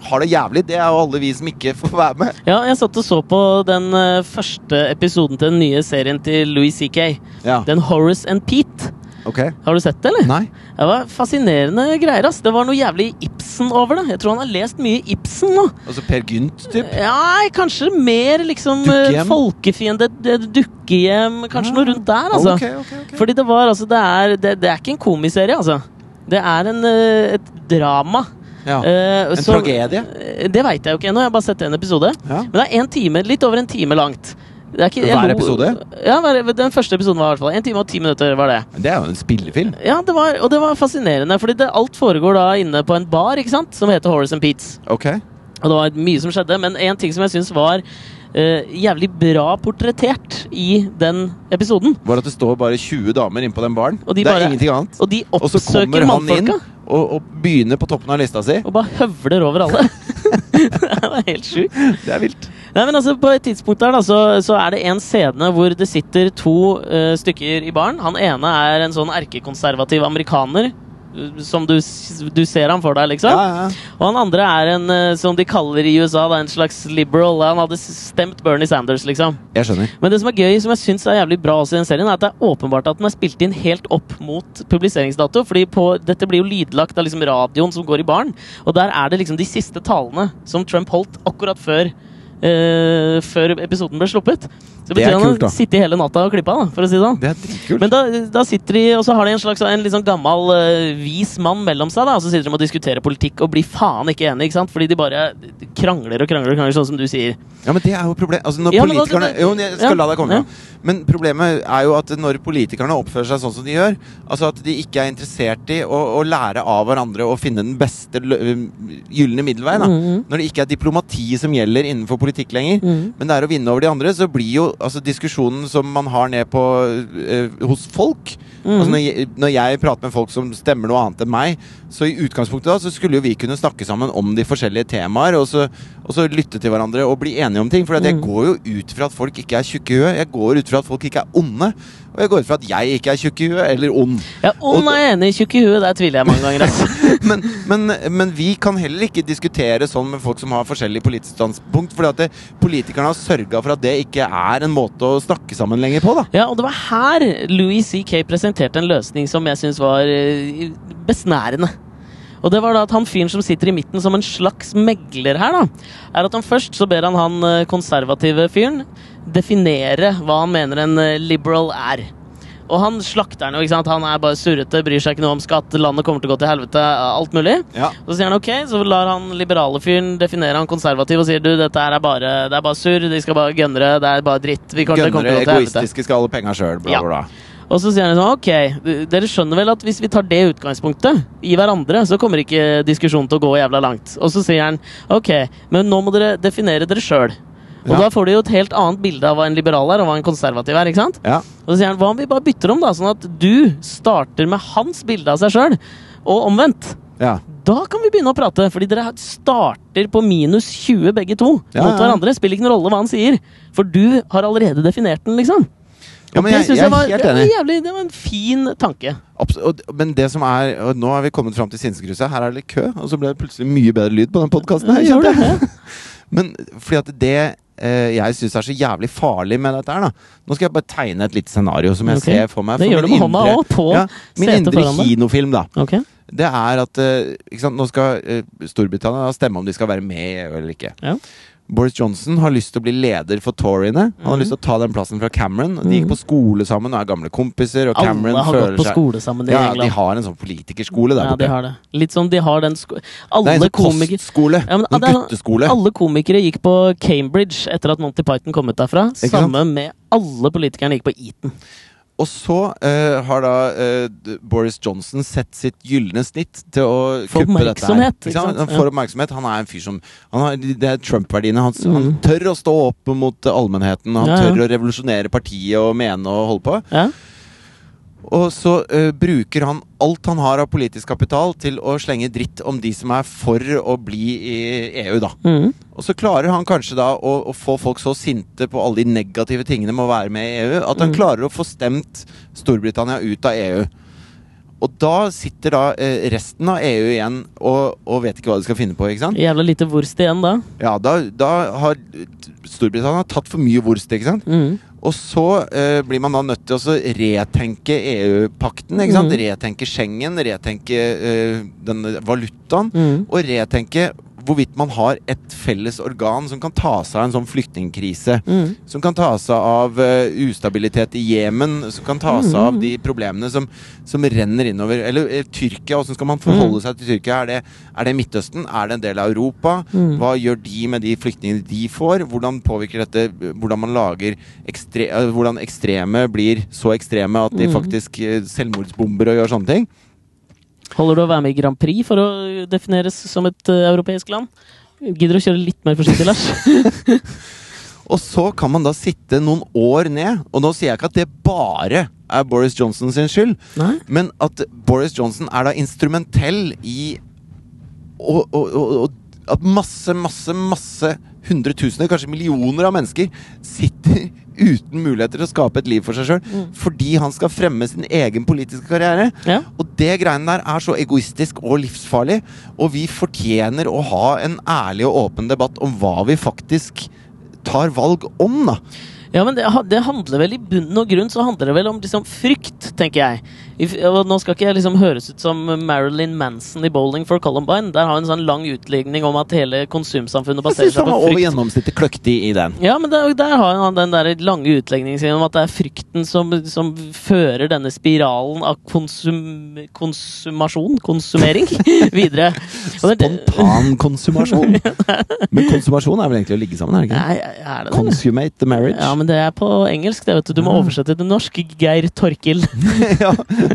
har det jævlig, det er jo alle vi som ikke får være med. Ja, jeg satt og så på den eh, første episoden til den nye serien til Louis CK. Ja, Den Horace and Pete. ok Har du sett det, eller? Nei. Det var fascinerende greier, ass. Det var noe jævlig Ibsen over det. Jeg tror han har lest mye Ibsen nå. Altså Per Gynt, typ? Ja, kanskje mer liksom eh, Dukkehjem? Ah, folkefiende, d- dukkehjem, kanskje noe rundt der, altså. Ok, ok, ok. Fordi det var altså Det er, det, det er ikke en komiserie, altså. Det er en, eh, et drama. ja. Eh, En som- tragedie? Eh, Det veit jeg jo ikke ennå. Jeg har bare sett en episode. Ja. Men det er en time, litt over en time langt. Det er ikke, jeg Hver lo- episode? Ja, hver, den første episoden var i hvert fall en time og ti minutter. var det Det er jo en spillefilm. Ja, det var, Og det var fascinerende, fordi det, alt foregår da inne på en bar ikke sant? som heter Horace and Pete's. Ok. Og det var mye som skjedde, men en ting som jeg syns var eh, jævlig bra portrettert i den episoden. Var det at det står bare 20 damer inne på den baren? Og de det er bare- ingenting annet. Og de Og så kommer oppsøker han inn mannfolka og, og begynner på toppen av lista si. og bare høvler over alle. det var helt sjukt. Det er vilt. Nei, men altså, på et tidspunkt der da, så, så er det en scene hvor det sitter to eh, stykker i baren. Han ene er en sånn erkekonservativ amerikaner. eh, Som du, s- du ser ham for deg, liksom. Ja, ja. Og han andre er en, eh, som de kaller i USA, da, en slags liberal. Han hadde s- stemt Bernie Sanders, liksom. Jeg skjønner. Men det som er gøy, som jeg syns er jævlig bra også i den serien, er at det er åpenbart at den er spilt inn helt opp mot publiseringsdato. Fordi på, dette blir jo lydlagt av liksom radioen som går i baren. Og der er det liksom de siste talene som Trump holdt akkurat før eh, før episoden ble sluppet. Så Det er betyr han kult, da. har sittet hele natta og klippa, da, for å si det sånn. Det er dritkult. Men da, da sitter de, og så har de en slags en litt sånn gammel, eh, vis mann mellom seg. da, Og så sitter de og diskuterer politikk og blir faen ikke enige. ikke sant? Fordi de bare krangler og krangler, og krangler sånn som du sier. Ja, men det er jo problemet altså, når Ja, men da- politikerne, da- Jo, men jeg skal ja, la deg komme ja. ja. Men problemet er jo at når politikerne oppfører seg sånn som de gjør Altså at de ikke er interessert i å, å lære av hverandre Og finne den beste lø- gyllene middelveien da. Mhm. Når det ikke er diplomati som gjelder innenfor politikk lenger Mhm. Men det er å vinne over de andre Så blir jo altså, diskusjonen som man har ned på eh, Hos folk altså, når, jeg, når jeg prater med folk som stemmer noe annet enn meg Så i utgangspunktet da Så skulle jo vi kunne snakke sammen om de forskjellige temaer Og så, og så lytte til hverandre og bli enige om ting For at jeg Mhm. går jo ut fra at folk ikke er tjukke i huet Jeg går ut fra at folk ikke er onde Og jeg går ut fra at jeg ikke er tjukk i huet Eller ond Ja, Ånd er jeg enig i tjukk i huet, der tviler jeg mange ganger. Altså. men, men, men vi kan heller ikke diskutere sånn med folk som har forskjellig politisk standpunkt, fordi at det, politikerne har sørga for at det ikke er en måte å snakke sammen lenger på, da. Ja, og det var her Louis C.K. presenterte en løsning som jeg syns var eh, besnærende. Og det var da at han fyren som sitter i midten som en slags megler her, da, er at han først så ber han han eh, konservative fyren definere hva han mener en eh, liberal er. Og han slakter han jo, ikke sant. Han er bare surrete, bryr seg ikke noe om skatt, landet kommer til å gå til helvete, alt mulig. Ja. Så sier han ok, så lar han liberale fyren definere han konservativ og sier du, dette her er bare, det er bare surr, de skal bare gønnere, det er bare dritt. Vi kommer til å komme Gønnere, til å gå til helvete. egoistiske, skal alle penga sjøl, bla, Ja. bla, Og så sier han sånn, ok, d- dere skjønner vel at hvis vi tar det utgangspunktet i hverandre, så kommer ikke diskusjonen til å gå jævla langt. Og så sier han, ok, men nå må dere definere dere sjøl. Og Ja. da får du jo et helt annet bilde av hva en liberal er, og hva en konservativ er. ikke sant? bla. Ja. Og så sier han, hva om vi bare bytter om, da, sånn at du starter med hans bilde av seg sjøl, og omvendt. Ja. Da kan vi begynne å prate, fordi dere starter på minus 20 begge to. Ja, mot ja. hverandre. Spiller ikke noen rolle hva han sier, for du har allerede definert den, liksom. ja, Og men det jeg, synes jeg var, er helt enig. Det var, jævlig, det var en fin tanke. Abs og, d- men det som er og Nå er vi kommet fram til sinnsgruset. Her er det litt kø, og så ble det plutselig mye bedre lyd på den podkasten her. Gjorde kjente jeg. det? Men fordi at det eh, jeg syns er så jævlig farlig med dette her, da. Nå skal jeg bare tegne et lite scenario som jeg Ok. ser for meg. Det for gjør du min med hånda indre- også, på Min setet indre foran deg. kinofilm, da. Ok. Det er at eh, ikke sant? Nå skal eh, Storbritannia da stemme om de skal være med i EU eller ikke. Ja. Boris Johnson har lyst til å bli leder for toryene. Han har Mhm. lyst til å ta den plassen fra Cameron. De gikk på skole sammen og er gamle kompiser. Og Cameron Alle har føler gått på seg- skole sammen i ja, de England. har en sånn politikerskole der ja, de borte. har det. Litt som de har den sko... det er en Alle sånn komikere kostskole. Ja, men, en det er sånn- gutteskole. alle komikere gikk på Cambridge etter at Monty Python kom ut derfra. sant? Samme med alle politikerne gikk på Eton. Og så eh, har da eh, d- Boris Johnson sett sitt gylne snitt til å Få kuppe dette her. oppmerksomhet, ikke sant? Han får oppmerksomhet. Han er en fyr som han har, Det er Trump-verdiene. Han, s- Mm. han tør å stå opp mot eh, allmennheten. Han Ja, ja. tør å revolusjonere partiet og mene og holde på. Ja. Og så eh, bruker han alt han har av politisk kapital til å slenge dritt om de som er for å bli i EU, da. Mm. Og så klarer han kanskje da å, å få folk så sinte på alle de negative tingene med å være med i EU, at han Mm. klarer å få stemt Storbritannia ut av EU. Og da sitter da eh, resten av EU igjen og, og vet ikke hva de skal finne på, ikke sant? Jævla lite vorst igjen da. Ja, da, da har eh, Storbritannia tatt for mye vorst, ikke sant? Mm. Og så eh, blir man da nødt til å så retenke EU-pakten, ikke sant? Mm. Retenke Schengen, retenke eh, denne valutaen Mm. og retenke hvorvidt man har et felles organ som kan ta seg av en sånn flyktningkrise. Mm. Som kan ta seg av eh, ustabilitet i Jemen, som kan ta seg Mm. av de problemene som, som renner innover. Eller eh, Tyrkia, åssen skal man forholde Mm. seg til Tyrkia? Er det, er det Midtøsten? Er det en del av Europa? Mm. Hva gjør de med de flyktningene de får? Hvordan påvirker dette hvordan man lager ekstre, eh, Hvordan ekstreme blir så ekstreme at de Mm. faktisk eh, selvmordsbomber og gjør sånne ting? Holder det å være med i Grand Prix for å defineres som et eh, europeisk land? Gidder å kjøre litt mer forsiktig, Lars? Og så kan man da sitte noen år ned, og nå sier jeg ikke at det bare er Boris Johnson sin skyld, Nei? men at Boris Johnson er da instrumentell i å, å, å, å, at masse, masse, masse hundretusener, kanskje millioner av mennesker sitter uten muligheter til å skape et liv for seg sjøl Mm. fordi han skal fremme sin egen politiske karriere. Ja. Og det greiene der er så egoistisk og livsfarlig, og vi fortjener å ha en ærlig og åpen debatt om hva vi faktisk tar valg om, da. Ja, men det, ha- det handler vel i bunn og grunn så handler det vel om liksom frykt, tenker jeg. I f- og nå skal ikke jeg liksom høres ut som Marilyn Manson i Bowling for Columbine. Der har hun en sånn lang utligning om at hele konsumsamfunnet Jeg baserer syns han seg på var over frykt. gjennomsnittet kløktig i den. Ja, men der, der har han den der lange utlegningen sin om at det er frykten som, som fører denne spiralen av konsum, konsumasjon, konsumering, videre. Og det er det- Spontan konsumasjon. Men konsumasjon er vel egentlig å ligge sammen, er det ikke? Nei, er det det? det? eller? Consumate the marriage. Ja, men det er på engelsk, det, vet du. Du må Ah. oversette til norsk, Geir Torkil. Ja.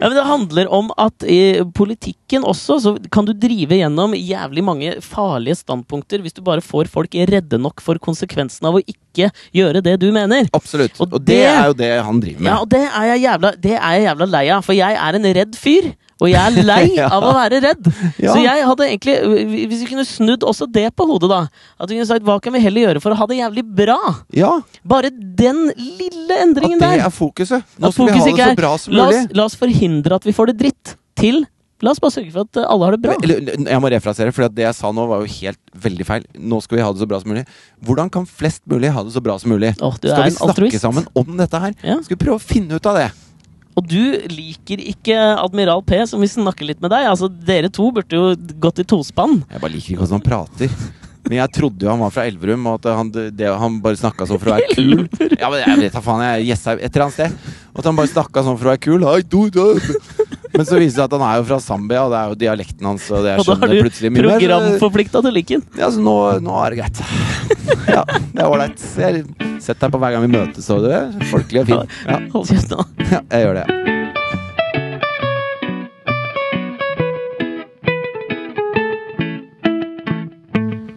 Ja, men Det handler om at i politikken også så kan du drive gjennom jævlig mange farlige standpunkter hvis du bare får folk redde nok for konsekvensen av å ikke gjøre det du mener. Absolutt. Og Og det- det er jo det han driver Ja, med. og det er jeg jævla, det er jeg jævla lei av, for jeg er en redd fyr. Og jeg er lei Ja. av å være redd. Ja. Så jeg hadde egentlig, hvis vi kunne snudd også det på hodet, da At vi kunne sagt hva kan vi heller gjøre for å ha det jævlig bra? Ja, Bare den lille at endringen det der. er fokuset. Nå At skal vi fokus ha ikke det så er- bra som la mulig. oss, la oss forhindre at vi får det dritt. Til La oss bare sørge for at eh, alle har det bra. Eller, n- jeg må refrasere, for det jeg sa nå var jo helt veldig feil. Nå skal vi ha det så bra som mulig. Hvordan kan flest mulig ha det så bra som mulig? Åh, du skal er vi en snakke altruist. sammen om dette her? Ja. Skal vi prøve å finne ut av det? Og du liker ikke Admiral P, som vi snakker litt med deg. Altså, Dere to burde jo gått i tospann. Jeg bare liker ikke hvordan han prater. Men jeg trodde jo han var fra Elverum, og at han, det, han bare snakka sånn for å være kul. Ja, men jeg vet da faen, jeg gjessa et eller annet sted. Og at han bare snakka sånn for å være kul. Hei, du, du. Men så viser det seg at han er jo fra Zambia, og det er jo dialekten hans. Og det jeg Og da har skjønner du plutselig mye mer. så- programforplikta til Lincoln. Ja, så nå, nå er det greit. Ja, det er ålreit. Jeg setter deg på hver gang vi møtes, og du er folkelig og fin. Ja, Hold kjeft nå. ja jeg gjør det.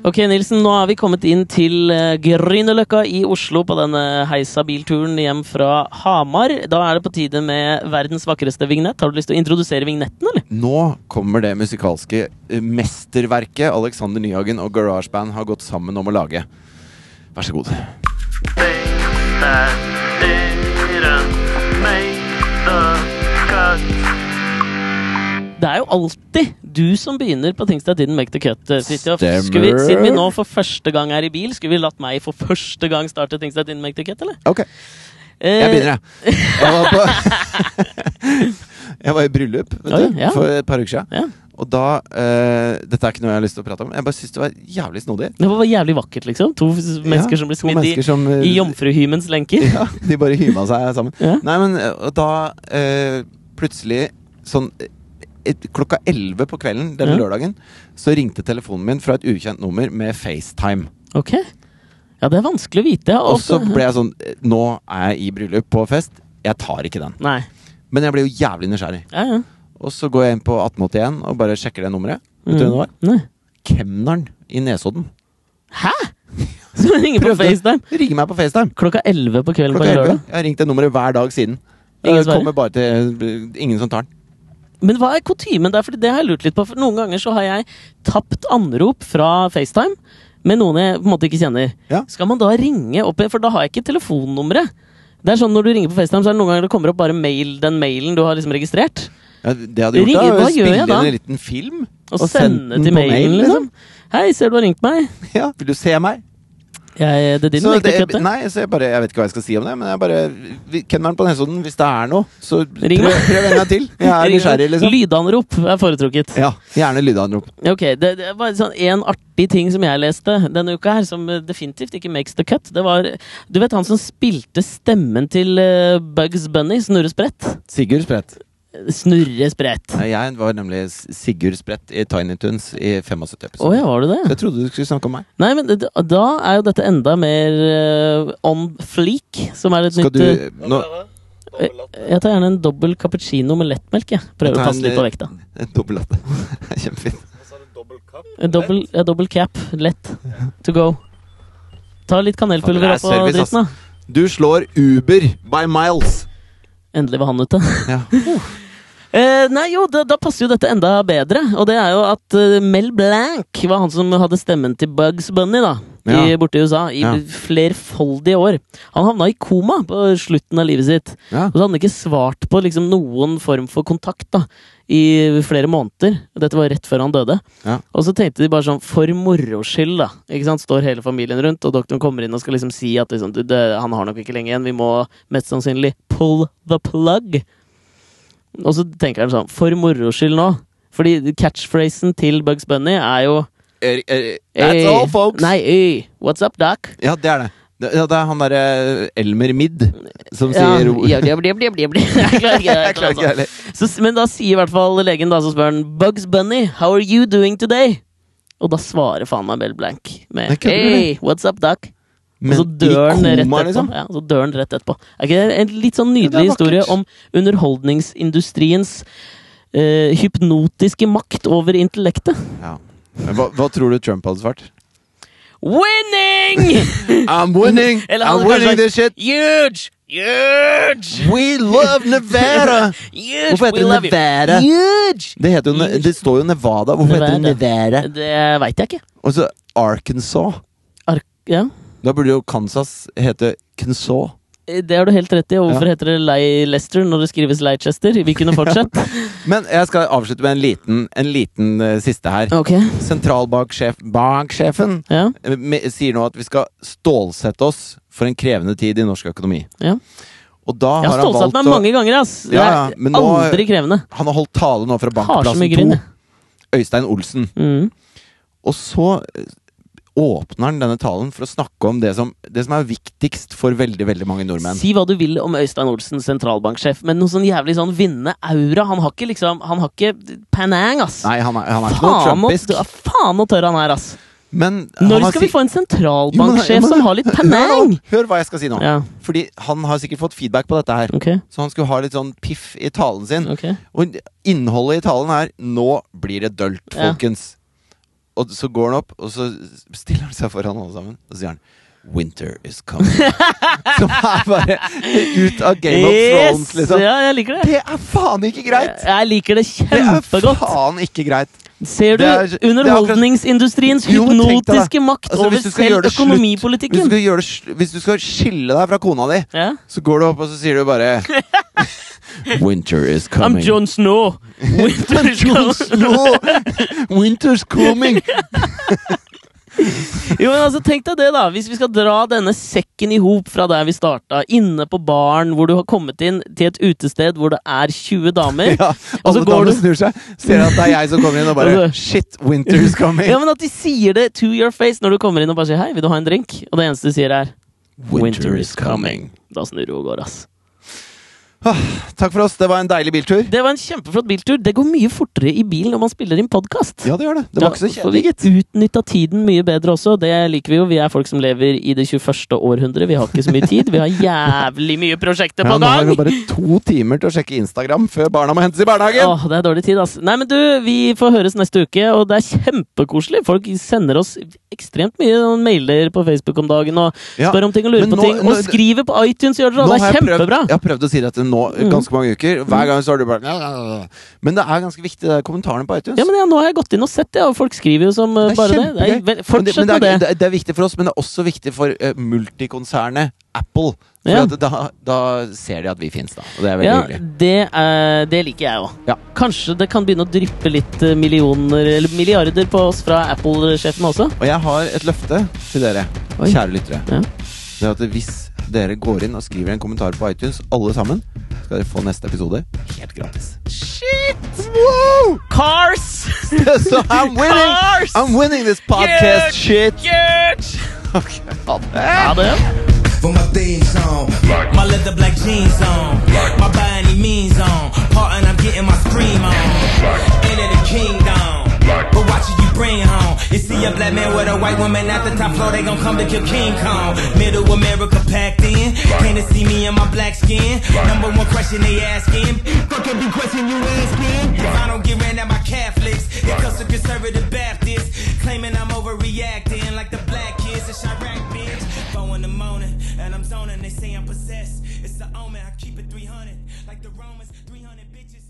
Ok, Nilsen, nå er vi kommet inn til eh, Grünerløkka i Oslo på denne heisa bilturen hjem fra Hamar. Da er det på tide med verdens vakreste vignett. Har du lyst til å introdusere vignetten, eller? Nå kommer det musikalske eh, mesterverket Alexander Nyhagen og Garage Band har gått sammen om å lage. Vær så god. things that didn't make the cut. Det er jo alltid du som begynner på Things That Didn't Make The Cut. eh, Fridtjof. Stemmer. Skulle vi, siden vi nå for første gang er i bil, skulle vi latt meg for første gang starte Things That Didn't Make The Cut, eller? Eh, Ok, jeg begynner, jeg. Jeg var, på jeg var i bryllup vet Oi, du, ja. for et par uker siden. Ja. Og da eh, Dette er ikke noe jeg har lyst til å prate om. Jeg bare syns det var jævlig snodig. Det var jævlig vakkert, liksom. To s- mennesker Ja, som blir to smidd i, mennesker som, eh, i jomfruhymens lenker. Ja, de bare hyma seg sammen. Ja. Nei, men eh, og da eh, plutselig sånn eh, et, klokka 11 på kvelden denne Ja. lørdagen så ringte telefonen min fra et ukjent nummer med FaceTime. Ok. Ja, det er vanskelig å vite. Og så Ofte- ble jeg sånn eh, Nå er jeg i bryllup på fest. Jeg tar ikke den. Nei. Men jeg blir jo jævlig nysgjerrig. Ja, ja. Og så går jeg inn på 1881 og bare sjekker det nummeret. Vet du hvem det var? Mm. Nei. Kemneren i Nesodden. Hæ?! Så hun ringer på Prøvde. FaceTime Ringer meg på FaceTime. klokka 11 på kvelden Klokka på 11. en lørdag. Jeg har ringt det nummeret hver dag siden. Ingen Det svarer? kommer bare til eh, Ingen som tar den. Men hva er kutymen der? Fordi det har jeg lurt litt på. For noen ganger så har jeg tapt anrop fra FaceTime med noen jeg på en måte ikke kjenner. Ja. Skal man da ringe opp igjen? For da har jeg ikke telefonnummeret. Det er sånn Når du ringer på FaceTime, så er det noen ganger det kommer opp bare mail, den mailen du har liksom registrert. Ja, det hadde gjort Ringer, da, hva gjør spille jeg da? inn en liten film Og, sende til på mailen, liksom. Hei, ser du har ringt meg? Ja, Vil du se meg? Jeg, det er din, Så jeg det, ikke kjøpt det. nei, så jeg bare Jeg vet ikke hva jeg skal si om det, men jeg bare vi- Kemneren på Nesodden, hvis det er noe, så Ring meg. prøv, prøv en gang til. Jeg er Ring- nysgjerrig, liksom. Lydanrop er foretrukket. Ja, Gjerne lydanrop. Ok, det, det var sånn en artig ting som jeg leste denne uka her, som eh, definitivt ikke makes the cut. Det var, du vet han som spilte stemmen til eh, Bugs Bunny, Snurre Sprett? Sigurd Sprett. Eh, Snurre Sprett. Å Nei, Jeg var nemlig S- Sigurd Sprett i Tiny Tunes i 75 episoder. ja, var du det? Jeg trodde du skulle snakke om meg. Nei, men det- da er jo dette enda mer eh, on fleak, som er et Skal nytt du eh, nå, Jeg tar gjerne en dobbel cappuccino med lettmelk, jeg. Prøver å Ta en, passe litt på eh, vekta. En dobbel latte. Kjempefint. En Dobbel, ja, dobbel cap, lett to go. Ta litt Fader, kanelpulver det er oppå service, ass. dritten, da. Du slår Uber by miles. Endelig var han ute. Ja. Eh, nei, jo, da, da passer jo dette enda bedre. Og det er jo at eh, Mel Blank var han som hadde stemmen til Bugs Bunny, da. I, Ja. borte i USA. I Ja. flerfoldige år. Han havna i koma på slutten av livet sitt. Ja. Og så hadde han ikke svart på liksom, noen form for kontakt da, i flere måneder. Dette var rett før han døde. Ja. Og så tenkte de bare sånn, for moro skyld, da. Ikke sant? Står hele familien rundt, og doktoren kommer inn og skal liksom si at liksom, du, det, han har nok ikke lenge igjen, vi må mest sannsynlig pull the plug. Og så tenker han sånn, for moro skyld nå. Fordi catchphrasen til Bugs Bunny er jo Er, er, that's all, «Øy, folks. Eh, Nei, øy, what's up, doc? Ja, det er det. Det, ja, det er han derre eh, Elmer Midd som Ja, sier ro. ja, ja, ja, ja, ja, ja. altså. Jeg klarer ikke det. Jeg klarer ikke heller. Så, s- men da sier i hvert fall legen da, så spør han Bugs Bunny, how are you doing today? Og da svarer faen meg Bell Blank med Det er ikke Hey, what's up, doc? Men og så dør han i rett koma, etterpå. liksom. Ja, så dør han rett etterpå. Er ikke det en litt sånn Ja, det nydelig er historie vakkert. om underholdningsindustriens eh, hypnotiske makt over intellektet? Ja. Men Hva, hva tror du Trump hadde svart? Winning! I'm winning! Eller I'm han hadde winning kanskje this shit! Huge! Huge! We love Nevada! Huge! Hvorfor heter We det love you. Nevada? Huge! Det, heter jo, Ne- det står jo Nevada. Hvorfor heter det Nevada? Det veit jeg ikke. Og så Arkansas. Ark ja. Da burde jo Kansas hete Kensaw. Eh, Det har du helt rett i. og Hvorfor Ja. heter det Leicester når det skrives Leicester? Vi kunne fortsatt. Men jeg skal avslutte med en liten, en liten eh, siste her. Ok. Sentralbanksjef Banksjefen Ja. eh, me- sier nå at vi skal stålsette oss for en krevende tid i norsk økonomi. ja. Og da Jeg har har han stålsatt valgt meg å mange ganger, ass. Det Ja, ja, er men nå- aldri krevende. Han har holdt tale nå fra Har så Bankplassen 2. mye grunn. jeg. Øystein Olsen. Mm. Og så eh, åpner han denne talen for å snakke om det som, det som er viktigst for veldig veldig mange nordmenn. Si hva du vil om Øystein Olsen, sentralbanksjef, men noe sånn jævlig sånn vinnende aura Han har ikke liksom Han har ikke panang, ass. Nei, han er, han er ikke noe Faen trumpisk. og- faen og tørr han er, ass. Men Når skal vi få en Jo, men- jo, sentralbanksjef men- som har litt Hør, panang? nå, hør hva jeg skal si nå. Ja, Fordi han har sikkert fått feedback på dette her. ok. Så han skulle ha litt sånn piff i talen sin. ok Og innholdet i talen er Nå blir det dølt, Ja. folkens. Og så går han opp, og så stiller han seg foran alle sammen, og så sier han Winter is coming. Som er bare ut av Game of Thrones, Yes! liksom. Ja, jeg liker det. Det er faen ikke greit! Jeg liker det Det er kjempegodt. faen ikke greit. Ser du Det er- det er underholdningsindustriens Jo, men tenk deg det. hypnotiske makt Altså, over hvis du skal gjøre selv det slutt- Hvis du, økonomipolitikken? skal gjøre det, sl- hvis du skal skille deg fra kona di, Ja. så går du opp og så sier du bare Winter is I'm coming. John Snow. Winter is Jon coming. Snow. Winter's coming! Jo, men altså, tenk deg det, da. Hvis vi skal dra denne sekken i hop fra der vi starta, inne på baren hvor du har kommet inn, til et utested hvor det er 20 damer. Ja, Og så alle går damene du- snur seg, ser at det er jeg som kommer inn og bare Altså- Shit, winter is coming! Ja, men At de sier det to your face når du kommer inn og bare sier 'hei, vil du ha en drink?' Og det eneste de sier, er Da snur du og går, ass. Ah, takk for oss. Det var en deilig biltur. Det var en kjempeflott biltur. Det går mye fortere i bil når man spiller inn podkast. Ja, det gjør det. Det var ikke så kjedelig. Vi utnytta tiden mye bedre også. Det liker vi jo. Vi er folk som lever i det 21. århundret. Vi har ikke så mye tid. Vi har jævlig mye prosjekter Ja, på nå har gang! vi bare to timer til å sjekke Instagram før barna må hentes i barnehagen! Åh, det er dårlig tid, ass. Nei, men du, vi får høres neste uke, og det er kjempekoselig. Folk sender oss ekstremt mye sånn mailer på Facebook om dagen og Ja, spør om ting og lurer men nå- på ting. Og nå- skriver på iTunes, gjør dere! og Nå Det har er jeg prøvd, kjempebra! Mm. jeg har prøvd å si dette nå i ganske mange uker. Hver gang så har du bare Men det er ganske viktig, det er kommentarene på iTunes. Ja, men ja, Nå har jeg gått inn og sett det, og folk skriver jo som eh, Det er bare det. det. kjempegøy. er vel- Men det, Fortsett men det, med er, det. det, er- det er viktig for oss, men det er også viktig for eh, multikonsernet Apple. For Ja. at da, da ser de at vi fins, da. Og det er veldig Ja, hyggelig. det, er, det liker jeg òg. Ja. Kanskje det kan begynne å dryppe litt eh, millioner eller milliarder på oss fra Apple-sjefen også? Og jeg har et løfte til dere, Oi. kjære lyttere. Ja. Det er at hvis dere går inn og skriver en kommentar på iTunes, alle sammen, skal dere få neste episode helt gratis. Shit! Woo! Cars! so I'm winning! Cars! I'm winning this podcast Yeah! shit! Huge! Okay. Ha det. Ha det. for my theme song. My leather black jeans on. My by any means on. Part and I'm getting my scream on. Enter the kingdom. But watch who you bring home. You see a black man with a white woman at the top floor, they gon' come to kill King Kong. Middle America packed in. Can't they see me in my black skin? Number one question they asking. Fuck every question you asking. If I don't get ran at my Catholics, it comes to conservative Baptists. Claiming I'm overreacting like the black kids in Chirac, bitch. Four in the morning, and I'm zoning. They say I'm possessed. It's the omen. I keep it 300, like the Romans. 300 bitches.